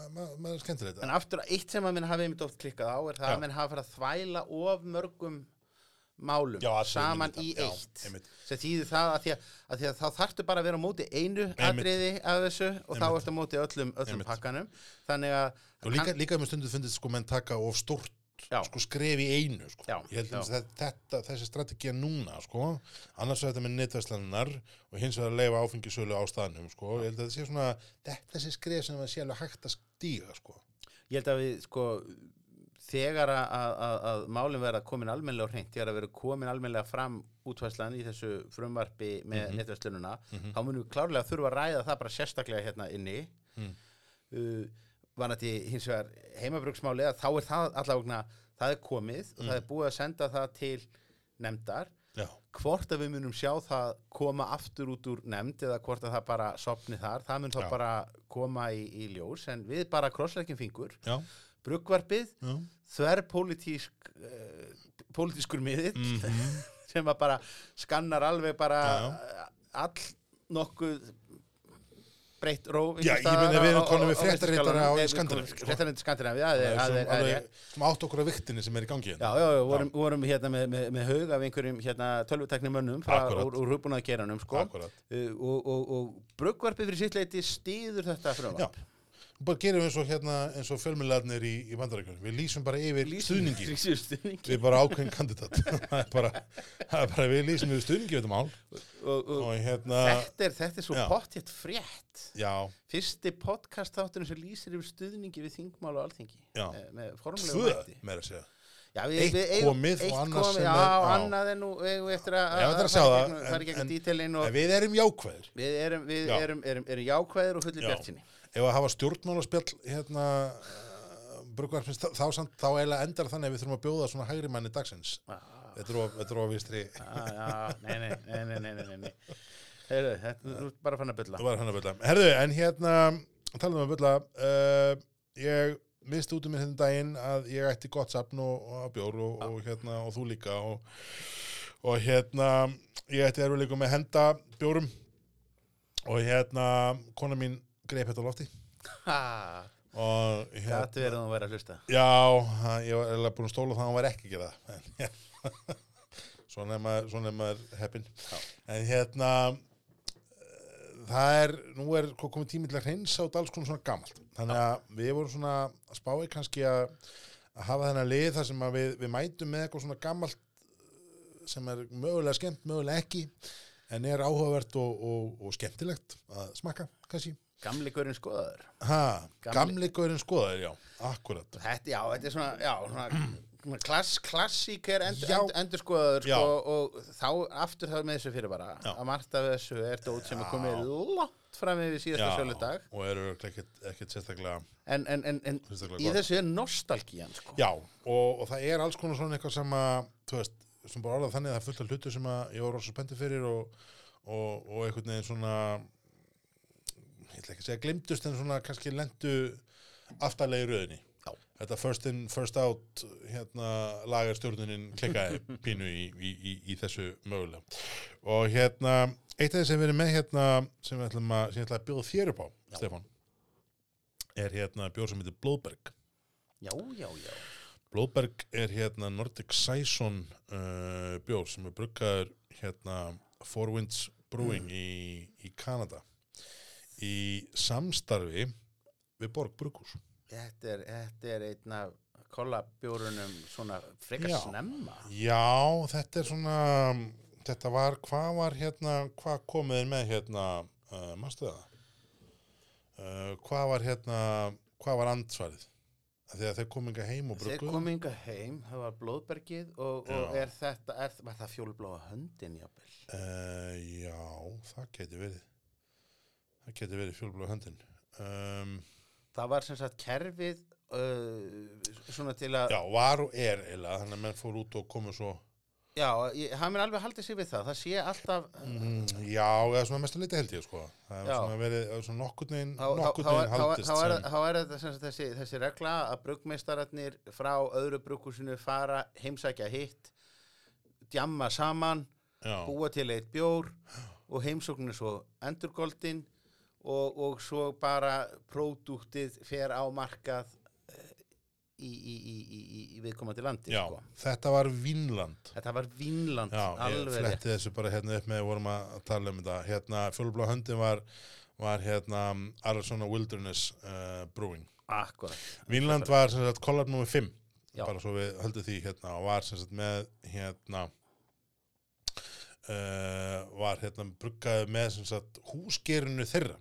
[SPEAKER 1] ma- ma- maður er skemmtilegt
[SPEAKER 2] En aftur að eitt sem að minn hafi einmitt oft klikkað á er það
[SPEAKER 1] Já.
[SPEAKER 2] að minn hafi farið að þvæla of mörgum málum
[SPEAKER 1] Já, atriðum
[SPEAKER 2] saman
[SPEAKER 1] í
[SPEAKER 2] í
[SPEAKER 1] þetta. Já,
[SPEAKER 2] eitt
[SPEAKER 1] einmitt.
[SPEAKER 2] sem þýðir það að því að, að því að þá þarftu bara að vera á móti einu atriði af þessu og þá ertu á móti öllum, öllum
[SPEAKER 1] Einmitt.
[SPEAKER 2] pakkanum þannig að
[SPEAKER 1] og líka, líka með stundu fundið sko menn taka of stórt
[SPEAKER 2] Já.
[SPEAKER 1] sko skref í einu sko.
[SPEAKER 2] Já,
[SPEAKER 1] ég held
[SPEAKER 2] já.
[SPEAKER 1] að þetta- þetta, þessi strategía núna sko, annars vegar þetta með netverslanar og hins vegar að leifa áfengisölu á staðnum sko, ég held að þetta sé svona þetta þessi skref sem það sé alveg hægt að stíga sko.
[SPEAKER 2] ég held að við sko þegar að, að, að- að málum verða komin almennilega á hreint, þegar að vera komin almennilega fram útvæslan í þessu frumvarpi með mm þá munum við klárlega þurfa að ræða það bara sérstaklega hérna inni
[SPEAKER 1] Mm.
[SPEAKER 2] uh, vanandi hins vegar heimabruksmáli að þá er það allavegna það er komið og það er búið að senda það til nefndar
[SPEAKER 1] já,
[SPEAKER 2] hvort að við munum sjá það koma aftur út úr nefnd eða hvort að það bara sopni þar, það mun þá
[SPEAKER 1] Já.
[SPEAKER 2] bara koma í, í ljós, en við bara krossleikin fingur,
[SPEAKER 1] já,
[SPEAKER 2] brugvarpið
[SPEAKER 1] já.
[SPEAKER 2] þverpólitísk uh, pólitískur miðill *laughs* sem að bara skannar alveg bara
[SPEAKER 1] Mhm. Já,
[SPEAKER 2] eh, all nokkuð breytt róf
[SPEAKER 1] Já, ég meina, við erum konum við fréttaritara á Skandinavíu, sko.
[SPEAKER 2] fréttaritari Skandinavíu, já,
[SPEAKER 1] Það er
[SPEAKER 2] það
[SPEAKER 1] svona
[SPEAKER 2] er- það er
[SPEAKER 1] alveg-
[SPEAKER 2] rétt
[SPEAKER 1] svona átt okkur á viktinni sem er í gangi hérna.
[SPEAKER 2] Já, já, já, vorum, vorum hérna með, með, með haug af einhverjum hérna, tölvutekni mönnum frá,
[SPEAKER 1] Akkúrat.
[SPEAKER 2] úr, úr hugbúnaðgeranum sko.
[SPEAKER 1] Akkúrat.
[SPEAKER 2] uh, og, og, og brugvarpið fyrir sitt leiti stýður þetta
[SPEAKER 1] Já,
[SPEAKER 2] frumvarp
[SPEAKER 1] bara gerum við eins og hérna eins og fjölmiðlarnir í, í bandarækjunum. Við lýsum bara yfir stuðningi.
[SPEAKER 2] *laughs* Lýsir stuðningi
[SPEAKER 1] Við erum bara ákveðin kandidat. *laughs* það, er bara, það er bara við lýsum yfir stuðningi við þetta mál.
[SPEAKER 2] og, og,
[SPEAKER 1] Og hérna,
[SPEAKER 2] þetta, er, þetta er svo
[SPEAKER 1] Já.
[SPEAKER 2] pottitt frétt
[SPEAKER 1] já,
[SPEAKER 2] fyrsti podcast þátturinn sem lýsir yfir stuðningi við þingmál og alþingi
[SPEAKER 1] Já.
[SPEAKER 2] Eh, með formlegu
[SPEAKER 1] tvö
[SPEAKER 2] hætti
[SPEAKER 1] meira að segja.
[SPEAKER 2] Já, við-
[SPEAKER 1] Eitt
[SPEAKER 2] við eigum-
[SPEAKER 1] komið og
[SPEAKER 2] eitt
[SPEAKER 1] annað
[SPEAKER 2] komið,
[SPEAKER 1] sem
[SPEAKER 2] já,
[SPEAKER 1] er- já.
[SPEAKER 2] annað en nú eigum við eftir að
[SPEAKER 1] Já, þetta er að sjá það,
[SPEAKER 2] fara í gegnum- fara í
[SPEAKER 1] en-
[SPEAKER 2] gegnum
[SPEAKER 1] en-
[SPEAKER 2] dítilinn
[SPEAKER 1] En
[SPEAKER 2] og
[SPEAKER 1] við erum jákvæðir.
[SPEAKER 2] við erum, við
[SPEAKER 1] Já.
[SPEAKER 2] erum, erum, erum jákvæðir og fullir
[SPEAKER 1] Já.
[SPEAKER 2] bjartinni
[SPEAKER 1] Ef að hafa stjórnmálaspjall hérna uh, brugvarpins, þá, þá, samt- þá eiginlega endar þannig að við þurfum að bjóða svona hægri manni dagsins.
[SPEAKER 2] Ah.
[SPEAKER 1] Þetta er of- þetta er of vinstri.
[SPEAKER 2] Já, já, nei, nei, nei, nei, nei, nei, nei, nei. Heyrðu, þetta, þú ert bara fann að bylla.
[SPEAKER 1] Það var hann að bylla. Herðu, en hérna, talaðum um að bylla, uh, ég misti út um mér hérna daginn að ég ætti gott safn og, og bjór og, og hérna, og þú líka og, og hérna, ég ætti erfiðleikum með að henda bjórum og hérna, kona mín greip þetta á lofti og hérna,
[SPEAKER 2] Gæti verið að hún væri að hlusta.
[SPEAKER 1] já, það- ég var eða búin að stóla það að hann var ekki að gera það, en hérna, *laughs* svona er maður, svona er maður heppin. En hérna, eh, það er, nú er ko- komið tími til að hreinsa út alls konar svona gamalt. Þannig að við vorum svona að spáði kannski að, að hafa þennan lið þar sem að við, við mætum með eitthvað svona gamalt eh, sem er mögulega skemmt, mögulega ekki, en er áhugavert og, og, og skemmtilegt að smakka, kannski.
[SPEAKER 2] Gamli görinn skoðaður.
[SPEAKER 1] Ha,
[SPEAKER 2] Gamli-
[SPEAKER 1] gamli góðurinn skoðaðir, já, akkurat.
[SPEAKER 2] Þetta, já, þetta er svona, já, svona, svona klass, klassíker end,
[SPEAKER 1] Já.
[SPEAKER 2] end, endur skoðaður,
[SPEAKER 1] Já.
[SPEAKER 2] sko, og þá aftur þá með þessu fyrir bara.
[SPEAKER 1] Já.
[SPEAKER 2] Að margt af þessu er dót sem er
[SPEAKER 1] Já.
[SPEAKER 2] komið langt fram yfir síðasta söludag.
[SPEAKER 1] og eru örugglega ekkert, ekkert sérstaklega
[SPEAKER 2] En, en, en, en
[SPEAKER 1] Sérstaklega
[SPEAKER 2] í
[SPEAKER 1] gott.
[SPEAKER 2] þessu er nostalgían, sko.
[SPEAKER 1] Já, og, og það er alls konar svona eitthvað sem að, þú veist, sem bara orðað þannig að það er fullt af hlutu sem að ég var rosa spenntið fyrir og, og, og einhvern veginn svona, ég ætla ekki að segja glimtust en svona kannski lendu aftarlega í röðinni.
[SPEAKER 2] Já.
[SPEAKER 1] Þetta first in, first out, hérna, lagarstjórnunin
[SPEAKER 2] *laughs*
[SPEAKER 1] klikkaði pínu í, í, í, í þessu mögulega. Og hérna, eitt af þeir sem við erum með hérna, sem við ætlum að, sem ég ætla að bjóða þér upp á, Stefán, er hérna bjór sem heitir Blóðberg.
[SPEAKER 2] Já, já, já.
[SPEAKER 1] Blóðberg er hérna Nordic Saison uh, bjór sem er bruggaður hérna Four Winds Brewing í, í Kanada í samstarfi við Borg Brukus.
[SPEAKER 2] Þetta er, þetta er einn af kollabjórunum svona frekar
[SPEAKER 1] Já.
[SPEAKER 2] snemma.
[SPEAKER 1] Já, þetta er svona, þetta var, hvað var hérna, hvað komið er með hérna, uh, mástu það? Uh, hvað var hérna, hvað var andsvarið? Af Því að þeir kominga heim og
[SPEAKER 2] Þeir
[SPEAKER 1] brugguðu.
[SPEAKER 2] komu yngar heim, það var blóðbergið og, og
[SPEAKER 1] Já.
[SPEAKER 2] er þetta, er, var það fjólubláa höndin jáfnvel?
[SPEAKER 1] Uh, já, það geti verið það geti verið fjólblóð höndin um,
[SPEAKER 2] Það var sem sagt kerfið uh, svona til að,
[SPEAKER 1] Já, var og er eiginlega, þannig að menn fór út og komu svo
[SPEAKER 2] já, ég, hann minn alveg haldið sig við það, það sé alltaf, eh,
[SPEAKER 1] mm, Já, eða svona mesta leiti held ég sko það er
[SPEAKER 2] Já.
[SPEAKER 1] svona verið, það er svona nokkurn veginn
[SPEAKER 2] þá- þá-
[SPEAKER 1] nokkurn
[SPEAKER 2] þá er-
[SPEAKER 1] veginn
[SPEAKER 2] þá er-
[SPEAKER 1] haldist
[SPEAKER 2] þá er
[SPEAKER 1] sem,
[SPEAKER 2] þá er þetta sem sagt þessi, þessi regla að brugmeistararnir frá öðru brukusinu fara heimsækja hitt, djamma saman,
[SPEAKER 1] já,
[SPEAKER 2] búa til eitt bjór og heimsóknin er svo endurgoldin og, og svo bara pródúktið fer á markað eh, í, í, í, í, í, í viðkomandi landi
[SPEAKER 1] já,
[SPEAKER 2] sko.
[SPEAKER 1] þetta var Vínland
[SPEAKER 2] Þetta var Vínland
[SPEAKER 1] Já, ég
[SPEAKER 2] alveg rétt.
[SPEAKER 1] fletti þessu bara hérna upp með við vorum að að tala um þetta hérna, fjólblóð höndin var var hérna Arizona Wilderness uh, Brewing
[SPEAKER 2] Akkurat.
[SPEAKER 1] Vínland var sem sagt kollab nr. 5
[SPEAKER 2] Já.
[SPEAKER 1] bara svo við höldum því hérna og var sem sagt með hérna uh, var hérna bruggaði með sem sagt húsgerinu þeirra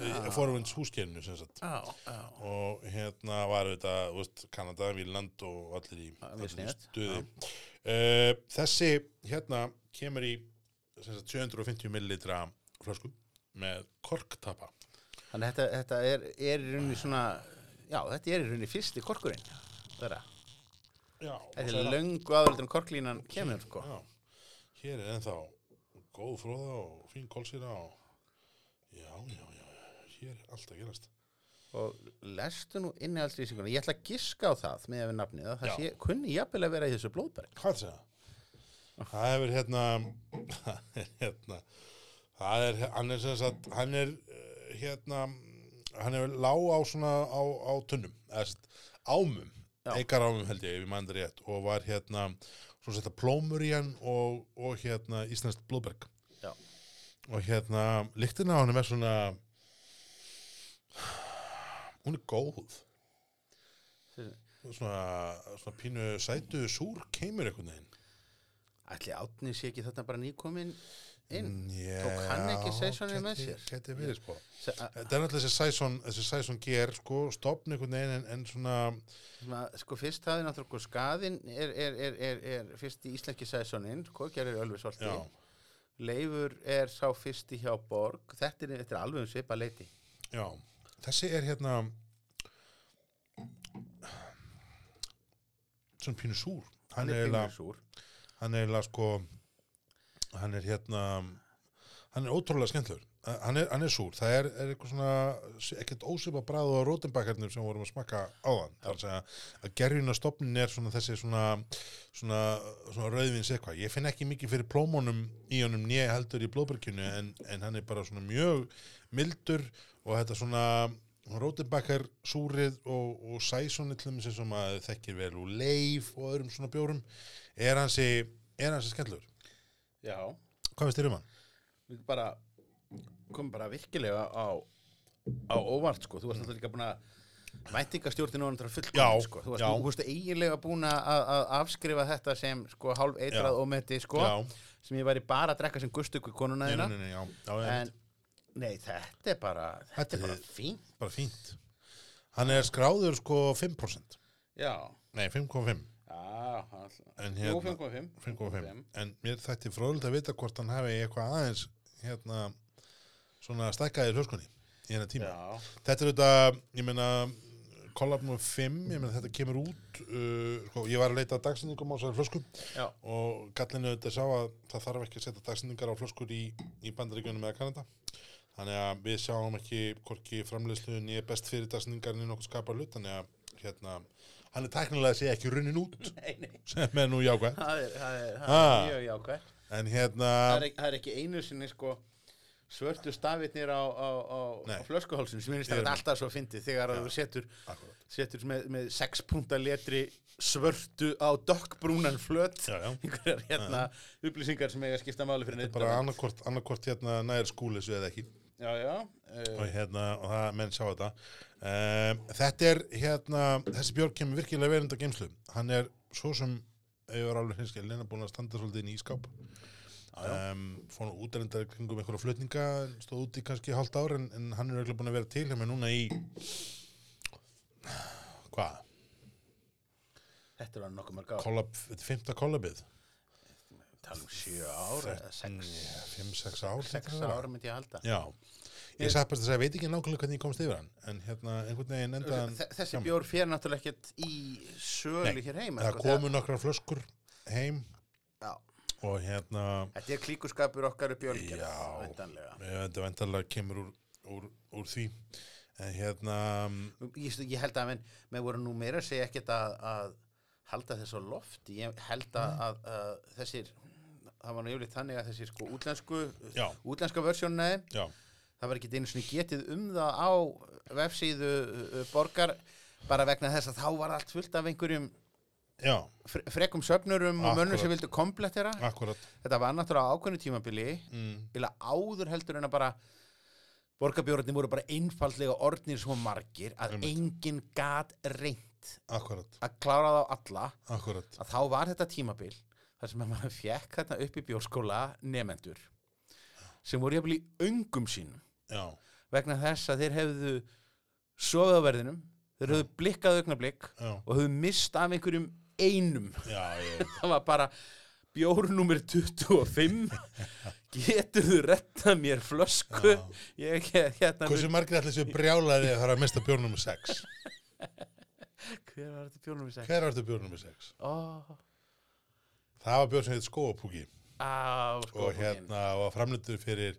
[SPEAKER 1] ah. forvins húsgerinu sem sagt
[SPEAKER 2] Já, já.
[SPEAKER 1] og hérna var þetta þú veist, Kanada, Vínland og allir í,
[SPEAKER 2] Ah, mjög
[SPEAKER 1] allir í
[SPEAKER 2] sniðugt.
[SPEAKER 1] stuði uh, þessi hérna kemur í sem sagt 750 millilitra flösku með korktappa
[SPEAKER 2] Þannig þetta, þetta er, er í rauninni svona, já þetta er í rauninni fyrsti korkurinn. Þeirra.
[SPEAKER 1] Já, og
[SPEAKER 2] Þetta
[SPEAKER 1] svo
[SPEAKER 2] er löngu aðvöldun korklínan kemur sko.
[SPEAKER 1] Já. Hér er ennþá góð fróða og fín kólsýra og já, já, já, já, hér er allt að gerast.
[SPEAKER 2] og lestu nú innihaldslýsinguna ég ætla að giska á það með ef við nafnið að
[SPEAKER 1] Já.
[SPEAKER 2] það sé, kunni jafnvel að vera í þessu blóðberg
[SPEAKER 1] Hvað er það? Það hefur hérna, það er hérna, það er, hann er sem sagt, hann er eh, hérna, hann hefur lág á svona, á, á tunnum, eðst, ámum,
[SPEAKER 2] Já.
[SPEAKER 1] eikar ámum held ég, ef ég mann rétt, og var hérna, svo setja plómur í hann og, og hérna, íslenskt blóðberg.
[SPEAKER 2] Já.
[SPEAKER 1] Og hérna, lyktin á hann er svona, hún er góð, svona, svona pínu sætu, súr keimur einhvern veginn.
[SPEAKER 2] ætli átni sé ekki þarna bara nýkomin inn
[SPEAKER 1] Já,
[SPEAKER 2] Tók hann ekki Sæsonið með sér?
[SPEAKER 1] Gæti verið sko
[SPEAKER 2] Se- a-
[SPEAKER 1] Þetta er náttúrulega þessi Sæson, þessi Sæson ger sko, stopn einhvern veginn en, en svona
[SPEAKER 2] svona, sko fyrst hafði náttúrulega sko, skaðin er, er, er, er, er fyrst í íslenski sæsonin sko, gerir Ölvis Holti
[SPEAKER 1] Já.
[SPEAKER 2] Leifur er sá fyrsti hjá Borg þetta er, þetta er alveg um svipa leiti
[SPEAKER 1] já, þessi er hérna svona pínu súr hann er eiginlega-
[SPEAKER 2] pingisúr
[SPEAKER 1] hann er eiginlega sko hann er hérna hann er ótrúlega skemmtlur hann er, hann er súr, það er, er eitthvað svona ekkert ósipa bræðu á rótinbakkarnir sem vorum að smakka áðan þar að segja að gerjun á stopnin er svona þessi svona, svona, svona rauðvins eitthvað ég finn ekki mikið fyrir plómónum í honum né heldur í blóðberginu en, en hann er bara svona mjög mildur og þetta svona rótinbakkar súrið og, og sæsoni til þess að maður þekkir vel úr leif og öðrum svona bjórum er hansi, er hansi skemmtlur
[SPEAKER 2] já,
[SPEAKER 1] hvað veist þér um hann?
[SPEAKER 2] við bara komum bara virkilega á, á óvart sko, þú varst náttúrulega líka búin að væntingastjórnin var náttúrulega fullkomin
[SPEAKER 1] Já,
[SPEAKER 2] sko. þú varst,
[SPEAKER 1] já.
[SPEAKER 2] þú varst eiginlega búin að, að afskrifa þetta sem sko hálf
[SPEAKER 1] Já.
[SPEAKER 2] eitrað og meti sko,
[SPEAKER 1] Já.
[SPEAKER 2] sem ég væri bara að drekka sem gustuku konuna
[SPEAKER 1] Nei,
[SPEAKER 2] þína
[SPEAKER 1] nei, nei, nei, já, já,
[SPEAKER 2] en
[SPEAKER 1] en,
[SPEAKER 2] nei, þetta er bara þetta er bara fín
[SPEAKER 1] bara fínt hann er skráður sko 5%
[SPEAKER 2] já,
[SPEAKER 1] nei 5,5
[SPEAKER 2] já
[SPEAKER 1] En
[SPEAKER 2] jú,
[SPEAKER 1] hérna-
[SPEAKER 2] 5,5
[SPEAKER 1] 5,5. en mér þætti fróðult að vita hvort hann hafi eitthvað aðeins hérna svona stækkaði hljóskunni í hennar tíma
[SPEAKER 2] já,
[SPEAKER 1] þetta er auðvitað, ég meina Collab nr. 5, ég meina þetta kemur út uh, sko, ég var að leita að dagsendingum á þessari flösku
[SPEAKER 2] já,
[SPEAKER 1] og gallinu auðvitað sá að það þarf ekki að setja dagsendingar á flöskur í, í bandaríkjunum eða Kanada þannig að við sjáum ekki hvorki framleiðslu nýja best fyrir dagsendingar en nokkuð skapar hlut þannig að hérna, hann er tæknilega að segja ekki runnin út *laughs*
[SPEAKER 2] nei, nei
[SPEAKER 1] sem er nú jákvæð
[SPEAKER 2] það er, það er, það er
[SPEAKER 1] Ah.
[SPEAKER 2] mjög jákvæð
[SPEAKER 1] en hérna,
[SPEAKER 2] það, er ekki- það er ekki einu sinni sko svörtu stafirnir á, á, á, á
[SPEAKER 1] Nei.
[SPEAKER 2] flöskuhálsum sem minnist
[SPEAKER 1] Ég er
[SPEAKER 2] að þetta
[SPEAKER 1] með.
[SPEAKER 2] alltaf svo fyndið þegar að þú setur,
[SPEAKER 1] Akkúrat.
[SPEAKER 2] setur með, með 6 punta letri svörtu á dökkbrúnan flöt
[SPEAKER 1] Já, já.
[SPEAKER 2] einhverjar hérna upplýsingar sem eiga að skipta máli fyrir neitt
[SPEAKER 1] bara annarkvort, annarkvort hérna nær skúli svo eða ekki
[SPEAKER 2] já, já, uh,
[SPEAKER 1] og hérna, og það menn sjá þetta um, þetta er hérna þessi björn kemur virkilega verund á geimslu hann er svo sem ef ég var alveg hinskjálin, hann er búin að standa svolítið inn í ískáp um, fór nú útrendar kringum einhverja flutninga stóð út í kannski hálft ár en, en hann er auðvitað búin að vera til hjá mig núna í hvað?
[SPEAKER 2] þetta var nokkuð mörg á
[SPEAKER 1] Kollab, þetta er fymta kollabið
[SPEAKER 2] tala um 7 ára eða 6
[SPEAKER 1] 5-6 ár hlýtur
[SPEAKER 2] 6
[SPEAKER 1] að vera.
[SPEAKER 2] ára myndi ég halda
[SPEAKER 1] já ég sagði bara þess að ég veit ekki nákvæmlega hvernig ég komst yfir hann en hérna einhvern veginn enda hann
[SPEAKER 2] Þe- þessi
[SPEAKER 1] hjá mér.
[SPEAKER 2] bjór fyrir náttúrulega ekkert í sölu
[SPEAKER 1] Nei,
[SPEAKER 2] hér heima
[SPEAKER 1] það
[SPEAKER 2] sko,
[SPEAKER 1] komu nokkrar flöskur heim
[SPEAKER 2] þegar- já.
[SPEAKER 1] og hérna
[SPEAKER 2] þetta er klíkuskapur okkar upp í ölgerð
[SPEAKER 1] Já.
[SPEAKER 2] væntanlega.
[SPEAKER 1] eh, þetta vendarlega kemur úr, úr, úr því en hérna
[SPEAKER 2] ég, stu- ég held að menn, menn voru nú meira að segja ekkert að, að halda þess á lofti ég held að, að, að þessir það var nú yfirleitt þannig að þessir sko útlensku
[SPEAKER 1] Já.
[SPEAKER 2] útlenska versjónnaði
[SPEAKER 1] já,
[SPEAKER 2] það var ekki einu svona getið um það á vefsíðu uh, borgar bara vegna þess að þá var allt fullt af einhverjum
[SPEAKER 1] já,
[SPEAKER 2] fre- frekum söfnurum og mönnum sem
[SPEAKER 1] Akkúrat.
[SPEAKER 2] vildu komplettera
[SPEAKER 1] akkurat mm,
[SPEAKER 2] þetta var náttúrulega á ákveðnu tímabili bila áður heldur en að bara borgarbjórnir voru bara einfaldlega orðnir svo margir að
[SPEAKER 1] Einmitt.
[SPEAKER 2] enginn gat reynt
[SPEAKER 1] akkurat,
[SPEAKER 2] að klára þá alla
[SPEAKER 1] akkurat
[SPEAKER 2] að þá var þetta tímabil þar sem að maður fekk þarna upp í bjórskóla nefendur sem voru jafnvel í öngum sínum
[SPEAKER 1] já,
[SPEAKER 2] vegna þess að þeir hefðu sofið á verðinum þeir hefðu blikkað augnablík
[SPEAKER 1] já,
[SPEAKER 2] og hefðu mist af einhverjum einum
[SPEAKER 1] já, ég,
[SPEAKER 2] það var bara bjórnúmer 25 getur þú retta mér flösku ég get hérna
[SPEAKER 1] hversu margir allir séu brjálaði að það er að mista bjórnum 6
[SPEAKER 2] hver var þetta bjórnúmer 6
[SPEAKER 1] hver var þetta bjórnum 6?
[SPEAKER 2] oh,
[SPEAKER 1] það var bjórn sem heit skóapúki
[SPEAKER 2] Á, sko,
[SPEAKER 1] og
[SPEAKER 2] skófuginn.
[SPEAKER 1] hérna var framlöndur fyrir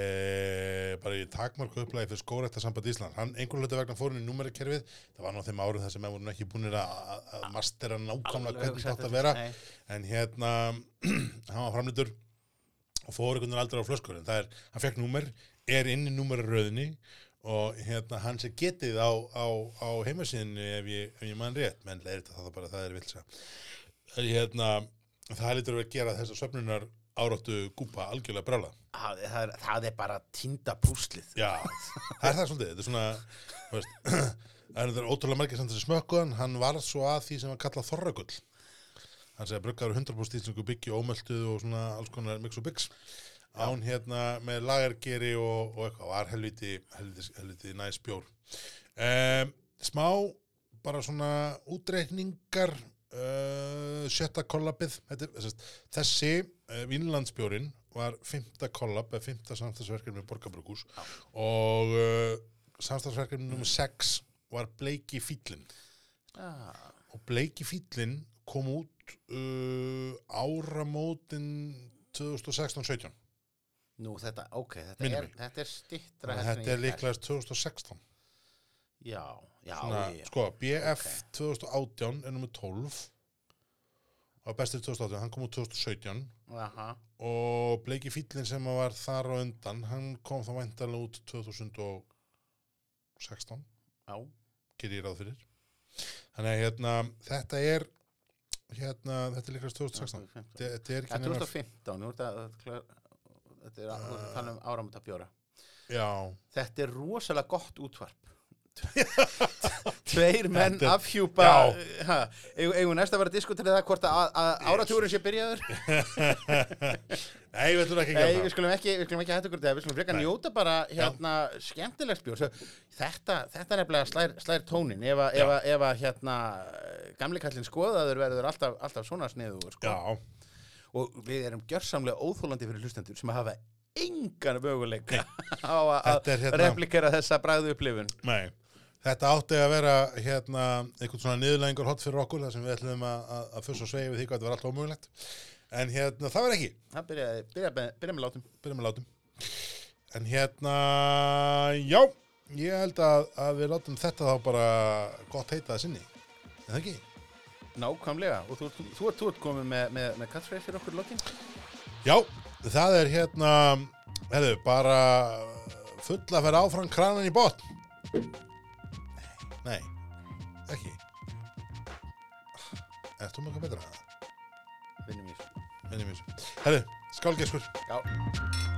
[SPEAKER 1] e, bara í takmarku upplæði fyrir skórættarsamband Ísland hann einhvern hlutu vegna fór inn í númerikerfið það var nú á þeim árum þar sem menn voru nú ekki búinir að að- að mastera nákvæmlega
[SPEAKER 2] Alveg
[SPEAKER 1] hvernig
[SPEAKER 2] hugsa
[SPEAKER 1] þetta átt
[SPEAKER 2] þetta.
[SPEAKER 1] að vera
[SPEAKER 2] Nei.
[SPEAKER 1] en hérna *clears throat* hann var framlöndur og fór einhvern veginn aldrei á flöskur en það er, hann fekk númer, er inn í númeraröðinni og hérna hann sem getið á, á, á heimasíðinu ef ég, ef ég mann rétt, menn leiðir þetta bara það er vilsa hérna, það lítur að vera að gera þessa söfnunar áráttu gúpa algjörlega brála
[SPEAKER 2] Það er- það er- það er bara týnda púslið
[SPEAKER 1] Já, það er það svolítið, þetta er svona, þú veist, *clears throat* það er þetta ótrúlega margir sem þessi smökkuðan, hann varð svo að því sem hann kallað þorragull. Hann segja bruggar 100% íslensku byggju, ómölduð og svona alls konar mix og byggs. Án hérna með lagargeri og, og eitthvað, var helviti, helviti, helviti næs bjór. Um, smá, bara svona útreikningar, uh, sjötta kollabið, þetta, er- sem sagt, þessi uh, Vínlandsbjórin var fymta kollab, eða fymta samstagsverkefni með Borgabrúkus og uh, samstagsverkefni
[SPEAKER 2] Mm.
[SPEAKER 1] nummer 6 var Bleiki Fýllin
[SPEAKER 2] ah,
[SPEAKER 1] og Bleiki Fýllin kom út uh, áramótin 2016-17
[SPEAKER 2] Nú þetta, ok, þetta
[SPEAKER 1] Minnir
[SPEAKER 2] er,
[SPEAKER 1] mig.
[SPEAKER 2] þetta er stittra
[SPEAKER 1] Þannig að þetta er líklega 2016
[SPEAKER 2] Já, já,
[SPEAKER 1] Svona,
[SPEAKER 2] já
[SPEAKER 1] sko, BF 2018 er nummer 12 og bestið 2018, hann kom út 2017
[SPEAKER 2] Aha,
[SPEAKER 1] og Bleiki Fýllin sem var þar á undan hann kom þá væntalega út 2016
[SPEAKER 2] já,
[SPEAKER 1] gerir ég ráð fyrir þannig að hérna, þetta er hérna, þetta er líkast 2016
[SPEAKER 2] 2015.
[SPEAKER 1] þetta þetta er
[SPEAKER 2] Það
[SPEAKER 1] ekki
[SPEAKER 2] er 2015, nú er þetta klar- Þetta er, þú ert að tala um áramönda bjóra
[SPEAKER 1] já, *laughs*
[SPEAKER 2] Þetta er rosalega gott útvarp Tveir menn
[SPEAKER 1] Þetta er-
[SPEAKER 2] afhjúpa
[SPEAKER 1] Já.
[SPEAKER 2] ha, eigum, eigum næst að vera að diskutera það hvort að, að áratúrin sé byrjaður
[SPEAKER 1] nei, við ætlum ekki að
[SPEAKER 2] Nei, sko- við
[SPEAKER 1] gera það
[SPEAKER 2] skulum ekki, við skulum ekki hætta okkur þetta, við skulum frekar
[SPEAKER 1] Nei.
[SPEAKER 2] njóta bara hérna skemmtilegt bjór. Svo, þetta, þetta er nefnilega slær, slær tónin, ef að, ef að, ef að hérna gamli kallinn skoðaður verður alltaf, alltaf svona sniðugur, sko.
[SPEAKER 1] já,
[SPEAKER 2] Og við erum gjörsamlega óþólandi fyrir hlustendur sem hafa engan möguleika *laughs* á að-
[SPEAKER 1] Þetta er
[SPEAKER 2] að
[SPEAKER 1] hérna-
[SPEAKER 2] replikera þessa bræðu upplifun.
[SPEAKER 1] nei Þetta átti að vera hérna, einhvern svona niðurlæðingur hot fyrir okkur þar sem við ætlum að, að, að fuss og svegi við því hvað þetta var alltaf ómögulegt en hérna, það var ekki
[SPEAKER 2] Það byrjaði, byrjaði, með- byrjaði með látum.
[SPEAKER 1] byrjum að látum en hérna, já ég held að, að við látum þetta þá bara gott heita að sinni en það ekki?
[SPEAKER 2] Nákvæmlega, og þú, þú, þú, ert- þú ert komið með, með, með kattfreir fyrir okkur lokin.
[SPEAKER 1] Já, það er hérna, herðu, bara full að vera áfram kranan í botn. Nei, ekki. Ertu með eitthvað betra að það?
[SPEAKER 2] Vinnum í þessu.
[SPEAKER 1] Minni mjög. Herðu, skálgeskur.
[SPEAKER 2] Já.